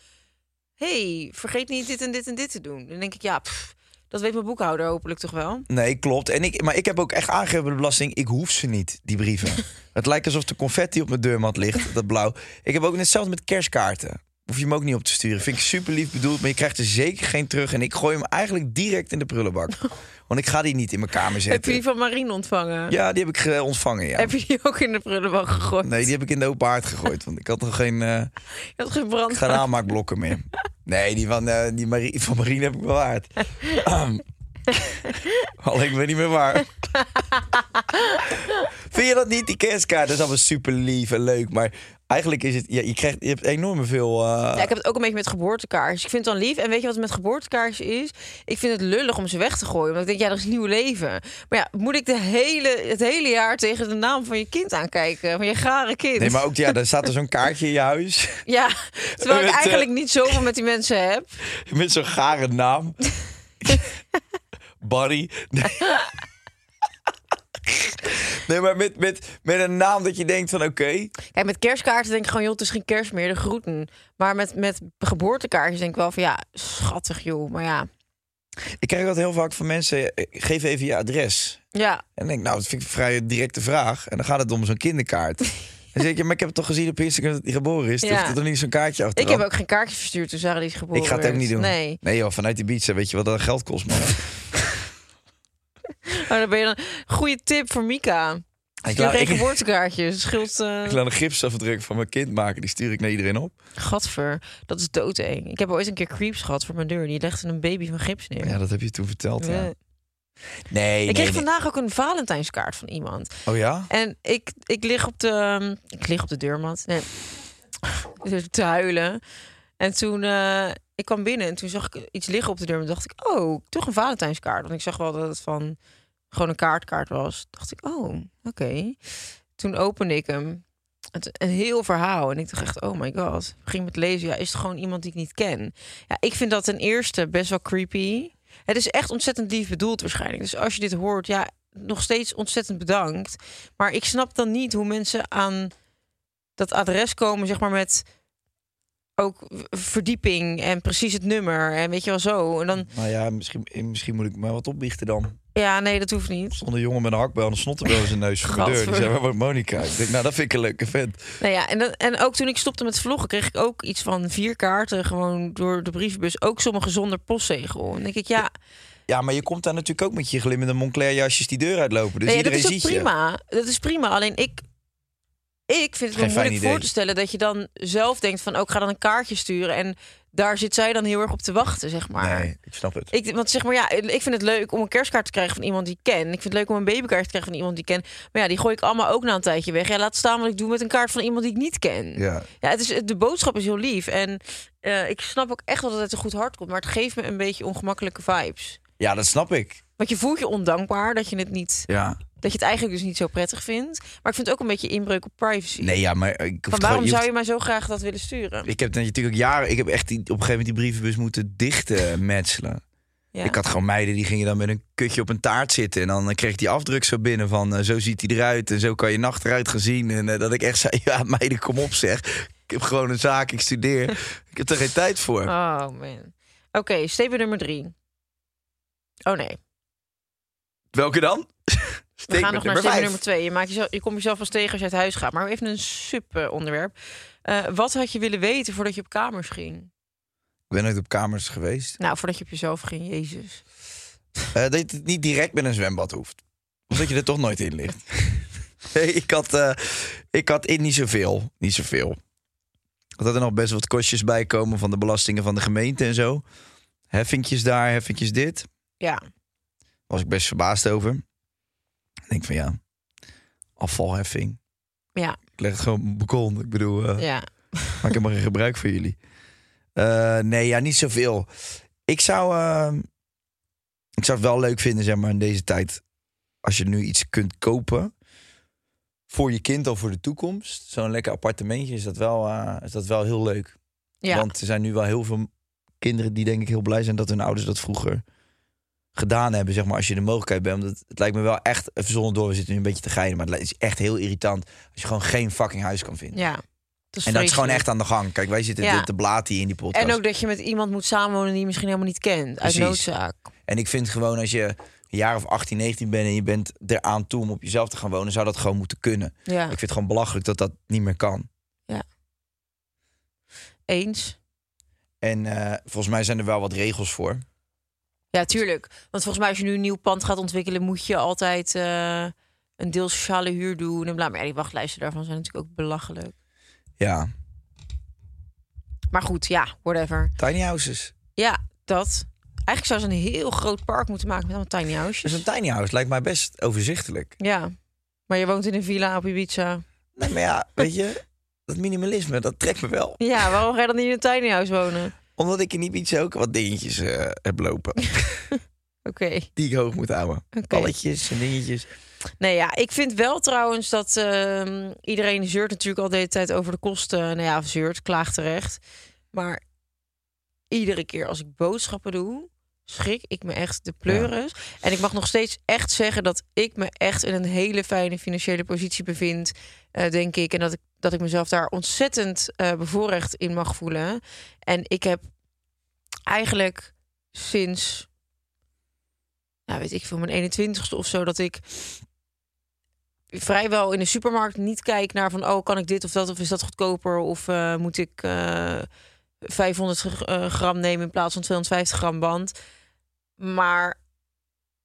Speaker 3: hey, vergeet niet dit en dit en dit te doen. Dan denk ik, ja, pff, dat weet mijn boekhouder hopelijk toch wel.
Speaker 1: Nee, klopt. En ik, maar ik heb ook echt aangegeven bij de belasting, ik hoef ze niet, die brieven. het lijkt alsof de confetti op mijn deurmat ligt, dat blauw. Ik heb ook net hetzelfde met kerstkaarten. Hoef je hem ook niet op te sturen. Vind ik super lief bedoeld, maar je krijgt er zeker geen terug. En ik gooi hem eigenlijk direct in de prullenbak. Want ik ga die niet in mijn kamer
Speaker 3: Oh. Heb je
Speaker 1: zetten.
Speaker 3: die van Marien ontvangen?
Speaker 1: Ja, die heb ik eh, ontvangen, ja.
Speaker 3: Heb je die ook in de prullenbak gegooid?
Speaker 1: Nee, die heb ik in de open haard gegooid. Want ik had nog geen, eh
Speaker 3: Je had geen brand.
Speaker 1: geen aanmaakblokken meer. Nee, die van, eh, die Marie, van Marine heb ik bewaard. Al ik weet niet meer waar. Vind je dat niet? Die kerstkaart dat is allemaal super lief en leuk. Maar eigenlijk is het... Ja, je, krijgt, je hebt enorm veel... eh,
Speaker 3: Ja, ik heb het ook een beetje met geboortekaars. Ik vind het dan lief. En weet je wat het met geboortekaars is? Ik vind het lullig om ze weg te gooien. Want ik denk, ja, dat is nieuw leven. Maar ja, moet ik de hele, het hele jaar tegen de naam van je kind aankijken? Van je gare kind?
Speaker 1: Nee, maar ook ja, daar staat er zo'n kaartje in je huis.
Speaker 3: Ja, terwijl
Speaker 1: Met,
Speaker 3: ik
Speaker 1: eh,
Speaker 3: eigenlijk niet zoveel met die mensen heb.
Speaker 1: Met zo'n gare naam. Barry. Nee. Nee, maar met, met, met een naam dat je denkt van oké.
Speaker 3: Kijk, met kerstkaarten denk ik gewoon, joh, het is geen kerst meer, de groeten. Maar met, met geboortekaartjes denk ik wel van, ja, schattig joh. Maar ja,
Speaker 1: Ik krijg dat heel vaak van mensen. eh, Geef even je adres.
Speaker 3: ja.
Speaker 1: En dan denk ik, nou, dat vind ik een vrij directe vraag. En dan gaat het om zo'n kinderkaart. Dan zeg je, maar ik heb het toch gezien op Instagram dat hij geboren is.
Speaker 3: Ja.
Speaker 1: Ja. hoeft er toch niet zo'n kaartje achter.
Speaker 3: Ik heb ook geen kaartjes verstuurd toen Sarah die is geboren
Speaker 1: Ik ga het ook
Speaker 3: werd.
Speaker 1: niet doen.
Speaker 3: Nee.
Speaker 1: joh, vanuit die beach, hè, weet je wat dat geld kost, man.
Speaker 3: Oh, Maar dan ben je dan... Goeie tip voor Mika.
Speaker 1: Ik
Speaker 3: Je
Speaker 1: laat, ik, ik
Speaker 3: geboortekaartje. Schild. eh
Speaker 1: laat een gipsafdruk van mijn kind maken. Die stuur ik naar iedereen op.
Speaker 3: Gadver. Dat is doodeng. Ik heb ooit een keer creeps gehad voor mijn deur. Die legde een baby van gips neer.
Speaker 1: Ja, dat heb je toen verteld.
Speaker 3: Ja.
Speaker 1: Ja. Nee,
Speaker 3: ik
Speaker 1: nee,
Speaker 3: kreeg
Speaker 1: nee.
Speaker 3: vandaag ook een Valentijnskaart van iemand.
Speaker 1: Oh ja?
Speaker 3: En ik, ik lig op de. ehm, Ik lig op de deurmat. Nee. te huilen. En toen. eh, ik kwam binnen en toen zag ik iets liggen op de deur. En dacht ik, oh, toch een Valentijnskaart. Want ik zag wel dat het van gewoon een kaartkaart was. Dacht ik, oh, oké. Toen opende ik hem. Het, een heel verhaal. En ik dacht echt, oh my god. Ik ging met lezen. Ja, is het gewoon iemand die ik niet ken? Ja, ik vind dat ten eerste best wel creepy. Het is echt ontzettend lief bedoeld waarschijnlijk. Dus als je dit hoort, ja, nog steeds ontzettend bedankt. Maar ik snap dan niet hoe mensen aan dat adres komen, zeg maar met ook v- verdieping en precies het nummer en weet je wel zo. En dan,
Speaker 1: Nou ja, misschien, misschien moet ik maar wat opbiechten dan.
Speaker 3: ja, nee, dat hoeft niet.
Speaker 1: Stond een jongen met een hakbel en een snottenbel in zijn neus voor mijn deur. Die zei, waar wordt Monika? Ik denk, nou, dat vind ik een leuke vent.
Speaker 3: Nou ja, en, dan, en ook toen ik stopte met vloggen, kreeg ik ook iets van vier kaarten gewoon door de brievenbus. Ook sommige zonder postzegel. En dan denk ik, ja,
Speaker 1: Ja, maar je komt daar natuurlijk ook met je glimmende Moncler jasjes die deur uitlopen. Dus
Speaker 3: nee, dat
Speaker 1: iedereen
Speaker 3: is ook
Speaker 1: ziet je.
Speaker 3: prima. Dat is prima. Alleen ik, ik vind
Speaker 1: Geen
Speaker 3: het wel
Speaker 1: fijn
Speaker 3: moeilijk
Speaker 1: idee.
Speaker 3: voor te stellen dat je dan zelf denkt van, ook ik ga dan een kaartje sturen. En daar zit zij dan heel erg op te wachten, zeg maar.
Speaker 1: Nee, ik snap het.
Speaker 3: Ik, want zeg maar, ja, ik vind het leuk om een kerstkaart te krijgen van iemand die ik ken. Ik vind het leuk om een babykaart te krijgen van iemand die ik ken. Maar ja, die gooi ik allemaal ook na een tijdje weg. Ja, laat staan wat ik doe met een kaart van iemand die ik niet ken.
Speaker 1: Ja.
Speaker 3: Ja, het is, het- de boodschap is heel lief. En eh, ik snap ook echt wel dat het een goed hart komt. Maar het geeft me een beetje ongemakkelijke vibes.
Speaker 1: ja, dat snap ik.
Speaker 3: Want je voelt je ondankbaar dat je het niet...
Speaker 1: Ja.
Speaker 3: Dat je het eigenlijk dus niet zo prettig vindt. Maar ik vind het ook een beetje inbreuk op privacy.
Speaker 1: Nee, ja, maar ik hoef
Speaker 3: Van
Speaker 1: het
Speaker 3: waarom
Speaker 1: gewoon- je
Speaker 3: zou
Speaker 1: hoeft-
Speaker 3: je mij zo graag dat willen sturen?
Speaker 1: Ik heb natuurlijk ook jaren... Ik heb echt die- op een gegeven moment die brievenbus moeten dichten eh, metselen.
Speaker 3: Ja.
Speaker 1: Ik had gewoon meiden die gingen dan met een kutje op een taart zitten. En dan eh, kreeg ik die afdruk zo binnen van eh, zo ziet hij eruit en zo kan je nacht eruit gaan zien. En eh, dat ik echt zei, ja meiden kom op zeg. Ik heb gewoon een zaak, ik studeer. ik heb er geen tijd voor.
Speaker 3: Oh man. Oké, steven nummer drie. Oh nee.
Speaker 1: Welke dan?
Speaker 3: We
Speaker 1: Statement
Speaker 3: gaan nog naar
Speaker 1: nummer
Speaker 3: statement
Speaker 1: vijf.
Speaker 3: nummer twee. Je, maakt jezelf, je komt jezelf wel tegen als je uit huis gaat. Maar even een super onderwerp. Eh, wat had je willen weten voordat je op kamers ging?
Speaker 1: Ik ben nooit op kamers geweest.
Speaker 3: Nou, voordat je op jezelf ging, Jezus.
Speaker 1: Eh, dat je het niet direct met een zwembad hoeft. Omdat je er toch nooit in ligt. nee, ik had, eh, ik had in niet zoveel. Niet zoveel. Want dat er nog best wat kostjes bij komen van de belastingen van de gemeente en zo. Heffingjes daar, heffingjes dit.
Speaker 3: Ja,
Speaker 1: was ik best verbaasd over. Ik denk van ja, afvalheffing.
Speaker 3: ja,
Speaker 1: Ik leg het gewoon op mijn balkon. Ik bedoel, eh,
Speaker 3: ja.
Speaker 1: maak ik helemaal geen gebruik van jullie. Eh, nee, ja, niet zoveel. Ik zou, eh, ik zou het wel leuk vinden, zeg maar, in deze tijd. Als je nu iets kunt kopen. Voor je kind of voor de toekomst. Zo'n lekker appartementje is dat wel, eh, is dat wel heel leuk.
Speaker 3: ja.
Speaker 1: Want er zijn nu wel heel veel kinderen die denk ik heel blij zijn dat hun ouders dat vroeger gedaan hebben, zeg maar, als je de mogelijkheid bent. Want het, het lijkt me wel echt, even zonder door, we zitten nu een beetje te geinen, maar het li- is echt heel irritant als je gewoon geen fucking huis kan vinden.
Speaker 3: ja. Dat is
Speaker 1: en dat is gewoon
Speaker 3: vreselijk.
Speaker 1: echt aan de gang. Kijk, wij zitten
Speaker 3: Ja.
Speaker 1: te, te blaten hier in die podcast.
Speaker 3: En ook dat je met iemand moet samenwonen die je misschien helemaal niet kent. Uit
Speaker 1: Precies.
Speaker 3: noodzaak.
Speaker 1: En ik vind gewoon als je een jaar of 18, 19 bent en je bent eraan toe om op jezelf te gaan wonen, zou dat gewoon moeten kunnen.
Speaker 3: Ja,
Speaker 1: Ik vind het gewoon belachelijk dat dat niet meer kan.
Speaker 3: eens.
Speaker 1: En eh, volgens mij zijn er wel wat regels voor.
Speaker 3: Ja, tuurlijk. Want volgens mij als je nu een nieuw pand gaat ontwikkelen... moet je altijd eh, een deel sociale huur doen. En bla. Maar ja, die wachtlijsten daarvan zijn natuurlijk ook belachelijk.
Speaker 1: Ja,
Speaker 3: Maar goed, ja, whatever.
Speaker 1: tiny houses.
Speaker 3: Ja, dat. Eigenlijk zou ze een heel groot park moeten maken met allemaal tiny
Speaker 1: Dus
Speaker 3: houses.
Speaker 1: een tiny house lijkt mij best overzichtelijk.
Speaker 3: Ja. Maar je woont in een villa op Ibiza.
Speaker 1: Nee, maar ja, weet je, dat minimalisme, dat trekt me wel.
Speaker 3: Ja, waarom ga je dan niet in een tiny house wonen?
Speaker 1: Omdat ik in Ibiza ook wat dingetjes eh, heb lopen.
Speaker 3: Oké.
Speaker 1: Die ik hoog moet houden.
Speaker 3: Oké.
Speaker 1: Balletjes en dingetjes.
Speaker 3: Nee, ja, ik vind wel trouwens dat ehm, iedereen zeurt natuurlijk al de hele tijd over de kosten. Nou ja, zeurt, klaagt terecht. Maar iedere keer als ik boodschappen doe, schrik ik me echt de pleuris. En ik mag nog steeds echt zeggen dat ik me echt in een hele fijne financiële positie bevind, eh, denk ik. En dat ik, dat ik mezelf daar ontzettend eh, bevoorrecht in mag voelen. En ik heb eigenlijk sinds nou weet ik veel, mijn 21ste of zo, dat ik vrijwel in de supermarkt niet kijk naar van, oh, kan ik dit of dat, of is dat goedkoper, of eh, moet ik eh, 500 gr- eh, gram nemen in plaats van 250 gram band. Maar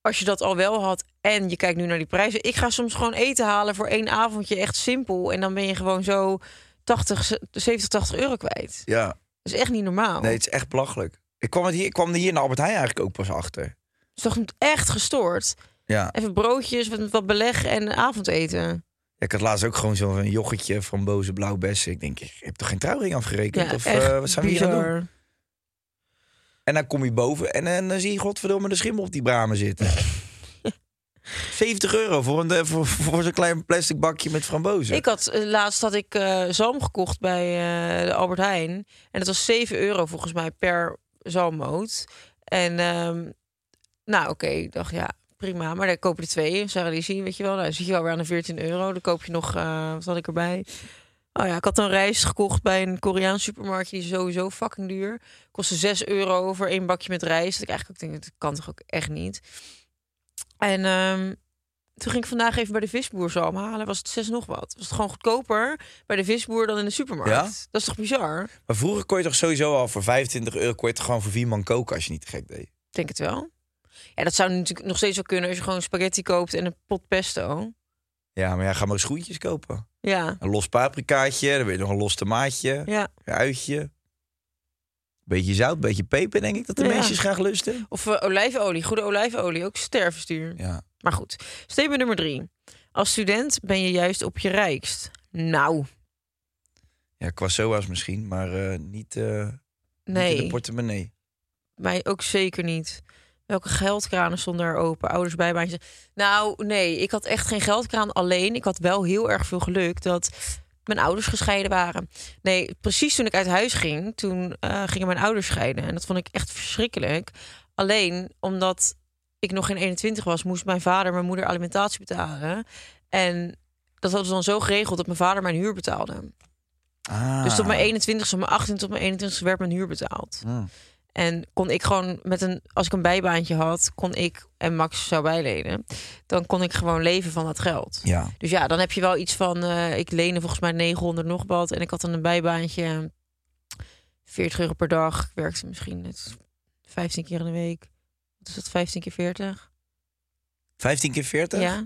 Speaker 3: als je dat al wel had en je kijkt nu naar die prijzen. Ik ga soms gewoon eten halen voor één avondje, echt simpel. En dan ben je gewoon zo 80, 70, 80 euro kwijt.
Speaker 1: Ja,
Speaker 3: Dat is echt niet normaal.
Speaker 1: nee, het is echt belachelijk. Ik kwam, het hier, ik kwam er hier naar Albert Heijn eigenlijk ook pas achter.
Speaker 3: Het is toch Dus echt gestoord.
Speaker 1: Ja.
Speaker 3: Even broodjes met wat beleg en avondeten.
Speaker 1: Ja, Ik had laatst ook gewoon zo'n joggetje van boze blauwbessen. Ik denk, ik heb toch geen trouwring afgerekend?
Speaker 3: Ja,
Speaker 1: of
Speaker 3: echt
Speaker 1: eh, wat zijn we hier aan het doen?
Speaker 3: bizar.
Speaker 1: En dan kom je boven en, eh, en dan zie je godverdomme de schimmel op die bramen zitten. 70 euro voor, een, eh, voor, voor zo'n klein plastic bakje met frambozen.
Speaker 3: Ik had eh, laatst had ik eh, zalm gekocht bij eh, de Albert Heijn. En dat was 7 euro volgens mij per zalmmoot. En ehm, nou oké, ik dacht ja, prima. Maar daar koop je er twee, Saralisi, weet je wel. Nou, dan zit je alweer aan de 14 euro. Dan koop je nog, eh, wat had ik erbij? Oh ja, ik had een rijst gekocht bij een Koreaans supermarktje. Die is sowieso fucking duur. Kostte 6 euro voor één bakje met rijst. Dat ik eigenlijk ook denk, dat kan toch ook echt niet. En ehm, toen ging ik vandaag even bij de visboer zalm halen. Was het zes nog wat. Was het gewoon goedkoper bij de visboer dan in de supermarkt.
Speaker 1: Ja?
Speaker 3: Dat is toch bizar?
Speaker 1: Maar vroeger kon je toch sowieso al voor 25 euro kon je toch gewoon voor vier man koken als je niet te gek deed.
Speaker 3: Ik denk het wel. Ja, dat zou natuurlijk nog steeds wel kunnen als je gewoon spaghetti koopt en een pot pesto.
Speaker 1: Ja, maar ja, ga maar eens groentjes kopen.
Speaker 3: Ja,
Speaker 1: Een los paprikaatje, dan weer nog een los tomaatje,
Speaker 3: ja.
Speaker 1: een uitje. Beetje zout, beetje peper denk ik dat de
Speaker 3: Ja.
Speaker 1: mensen graag lusten.
Speaker 3: Of eh, olijfolie, goede olijfolie, ook stervenstuur.
Speaker 1: Ja.
Speaker 3: Maar goed, statement nummer drie. Als student ben je juist op je rijkst. Nou,
Speaker 1: Ja, qua SOA's misschien, maar eh, niet, eh, niet in de
Speaker 3: nee,
Speaker 1: portemonnee.
Speaker 3: mij ook zeker niet. Welke geldkranen stonden er open? Ouders bijbaantjes. Nou, nee, ik had echt geen geldkraan alleen. Ik had wel heel erg veel geluk dat mijn ouders gescheiden waren. Nee, precies toen ik uit huis ging, toen eh, gingen mijn ouders scheiden. En dat vond ik echt verschrikkelijk. Alleen omdat ik nog geen 21 was, moest mijn vader mijn moeder alimentatie betalen. En dat hadden ze dan zo geregeld dat mijn vader mijn huur betaalde.
Speaker 1: Ah.
Speaker 3: Dus tot mijn 21ste, mijn 18 tot mijn 21ste werd mijn huur betaald.
Speaker 1: Hmm.
Speaker 3: En kon ik gewoon met een, als ik een bijbaantje had, kon ik en Max zou bijlenen, dan kon ik gewoon leven van dat geld.
Speaker 1: Ja,
Speaker 3: Dus ja, dan heb je wel iets van, eh, ik leende volgens mij 900 nog wat en ik had dan een bijbaantje, 40 euro per dag. Ik werkte misschien net 15 keer in de week. Wat is dat, 15 keer 40?
Speaker 1: 15 keer 40?
Speaker 3: Ja.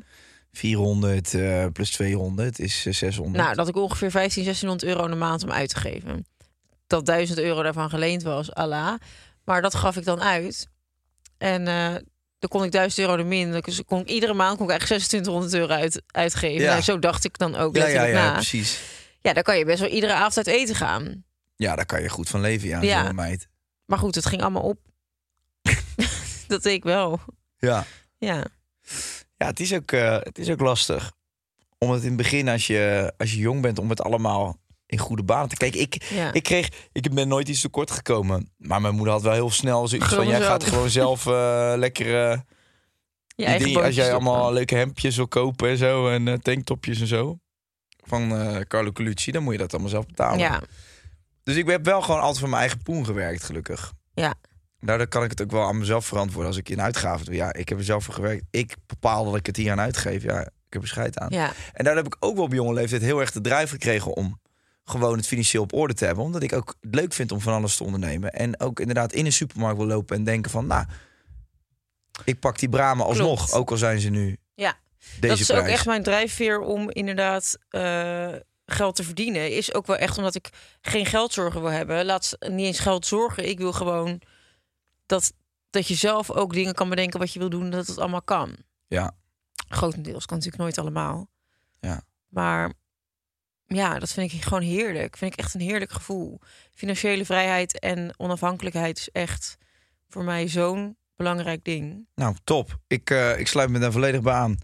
Speaker 1: 400 eh, plus 200 is eh, 600.
Speaker 3: Nou, dat had ik ongeveer 15, 1600 euro in de maand om uit te geven. Dat 1000 euro daarvan geleend was, Allah. Maar dat gaf ik dan uit. En eh, dan kon ik 1000 euro er minder. Dus kon ik, iedere maand kon ik eigenlijk 2600 euro uit, uitgeven.
Speaker 1: Ja.
Speaker 3: Nou, zo dacht ik dan ook.
Speaker 1: ja, ja,
Speaker 3: letterlijk
Speaker 1: ja,
Speaker 3: na.
Speaker 1: precies.
Speaker 3: ja, dan kan je best wel iedere avond uit eten gaan.
Speaker 1: Ja, daar kan je goed van leven, ja,
Speaker 3: Ja.
Speaker 1: zo'n meid.
Speaker 3: Maar goed, het ging allemaal op. dat deed ik wel.
Speaker 1: Ja,
Speaker 3: Ja.
Speaker 1: ja het, is ook, eh, het is ook lastig. Omdat in het begin, als je, als je jong bent, om het allemaal in goede banen te kijken. Ik,
Speaker 3: Ja.
Speaker 1: ik kreeg, ik ben nooit iets tekort gekomen. Maar mijn moeder had wel heel snel zoiets van,
Speaker 3: Gewoon
Speaker 1: jij
Speaker 3: zelf.
Speaker 1: gaat gewoon zelf eh, lekker... eh,
Speaker 3: Je
Speaker 1: Die dingen,
Speaker 3: eigen eh.
Speaker 1: als
Speaker 3: bootjes
Speaker 1: jij
Speaker 3: stoppen.
Speaker 1: allemaal leuke hemdjes wil kopen en zo en eh, tanktopjes en zo van eh, Carlo Colucci, dan moet je dat allemaal zelf betalen.
Speaker 3: Ja.
Speaker 1: Dus ik heb wel gewoon altijd voor mijn eigen poen gewerkt, gelukkig.
Speaker 3: Ja.
Speaker 1: Daardoor kan ik het ook wel aan mezelf verantwoorden als ik in uitgaven doe. Ja, ik heb er zelf voor gewerkt. Ik bepaal dat ik het hier aan uitgeef. Ja, ik heb er scheid aan.
Speaker 3: ja.
Speaker 1: En daardoor heb ik ook wel op jonge leeftijd heel erg de drijf gekregen om gewoon het financieel op orde te hebben. Omdat ik ook het leuk vind om van alles te ondernemen. En ook inderdaad in een supermarkt wil lopen en denken van, nou, ik pak die bramen alsnog.
Speaker 3: Klopt.
Speaker 1: Ook al zijn ze nu
Speaker 3: Ja.
Speaker 1: deze
Speaker 3: dat is
Speaker 1: prijs.
Speaker 3: ook echt mijn drijfveer om inderdaad eh, geld te verdienen. Is ook wel echt omdat ik geen geldzorgen wil hebben. Laat s- niet eens geld zorgen. Ik wil gewoon dat, dat je zelf ook dingen kan bedenken wat je wil doen. Dat het allemaal kan.
Speaker 1: Ja,
Speaker 3: Grotendeels kan natuurlijk nooit allemaal.
Speaker 1: Ja.
Speaker 3: Maar ja, dat vind ik gewoon heerlijk. Vind ik echt een heerlijk gevoel. Financiële vrijheid en onafhankelijkheid is echt voor mij zo'n belangrijk ding.
Speaker 1: nou top. Ik, eh, ik sluit me daar volledig bij aan.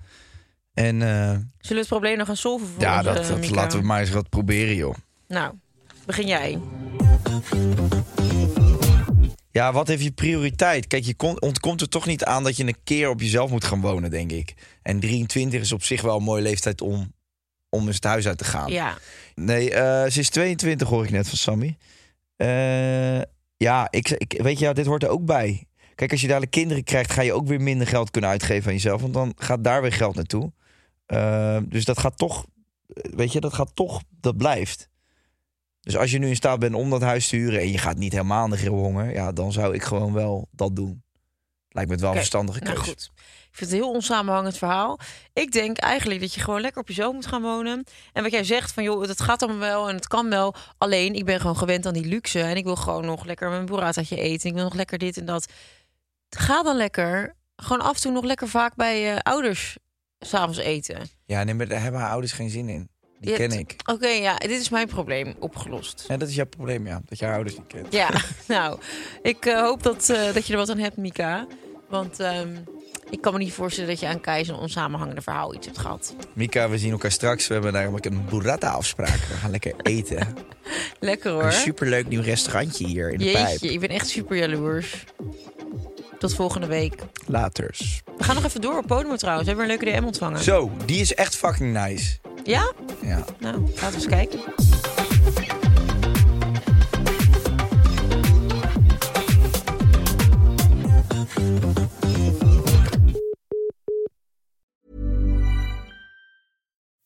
Speaker 1: En eh,
Speaker 3: Zullen we het probleem nog gaan solven voor
Speaker 1: ja,
Speaker 3: ons,
Speaker 1: dat,
Speaker 3: eh,
Speaker 1: dat
Speaker 3: Mika?
Speaker 1: laten we maar eens wat proberen, joh.
Speaker 3: Nou, begin jij.
Speaker 1: Ja, wat heeft je prioriteit? Kijk, je kon- ontkomt er toch niet aan dat je een keer op jezelf moet gaan wonen, denk ik. En 23 is op zich wel een mooie leeftijd om, om eens het huis uit te gaan.
Speaker 3: Ja,
Speaker 1: Nee, eh, ze is 22 hoor ik net van Sammy. Eh, ja, ik, ik, weet je, dit hoort er ook bij. Kijk, als je dadelijk kinderen krijgt, ga je ook weer minder geld kunnen uitgeven aan jezelf. Want dan gaat daar weer geld naartoe. Eh, dus dat gaat toch, eh, weet je, dat gaat toch, dat blijft. Dus als je nu in staat bent om dat huis te huren en je gaat niet helemaal aan de grill honger, ja, dan zou ik gewoon wel dat doen. Lijkt me het wel een
Speaker 3: Oké,
Speaker 1: verstandige keuze.
Speaker 3: Nou goed. Ik vind het een heel onsamenhangend verhaal. Ik denk eigenlijk dat je gewoon lekker op je zoon moet gaan wonen. En wat jij zegt van joh, het gaat allemaal wel en het kan wel. Alleen ik ben gewoon gewend aan die luxe en ik wil gewoon nog lekker mijn burrataatje eten. Ik wil nog lekker dit en dat. Ga dan lekker gewoon af en toe nog lekker vaak bij je ouders s'avonds eten.
Speaker 1: Ja, nee, maar daar hebben haar ouders geen zin in. Die
Speaker 3: Je
Speaker 1: ken
Speaker 3: hebt-
Speaker 1: ik.
Speaker 3: Oké, ja, dit is mijn probleem opgelost.
Speaker 1: Ja, dat is jouw probleem, ja. Dat je haar ouders niet kent.
Speaker 3: Ja, nou, ik eh, hoop dat, eh, dat je er wat aan hebt, Mika. Want ehm, ik kan me niet voorstellen dat je aan Kai een onsamenhangende verhaal iets hebt gehad.
Speaker 1: Mika, we zien elkaar straks. We hebben namelijk een burrata-afspraak. We gaan lekker eten.
Speaker 3: Lekker hoor.
Speaker 1: Een superleuk nieuw restaurantje hier in de
Speaker 3: Jeetje,
Speaker 1: pijp.
Speaker 3: ik ben echt super jaloers. Tot volgende week.
Speaker 1: Laters.
Speaker 3: We gaan nog even door op Podimo trouwens. We hebben een leuke DM ontvangen.
Speaker 1: Zo, die is echt fucking nice.
Speaker 3: Ja?
Speaker 1: Ja.
Speaker 3: Nou, laten we eens kijken.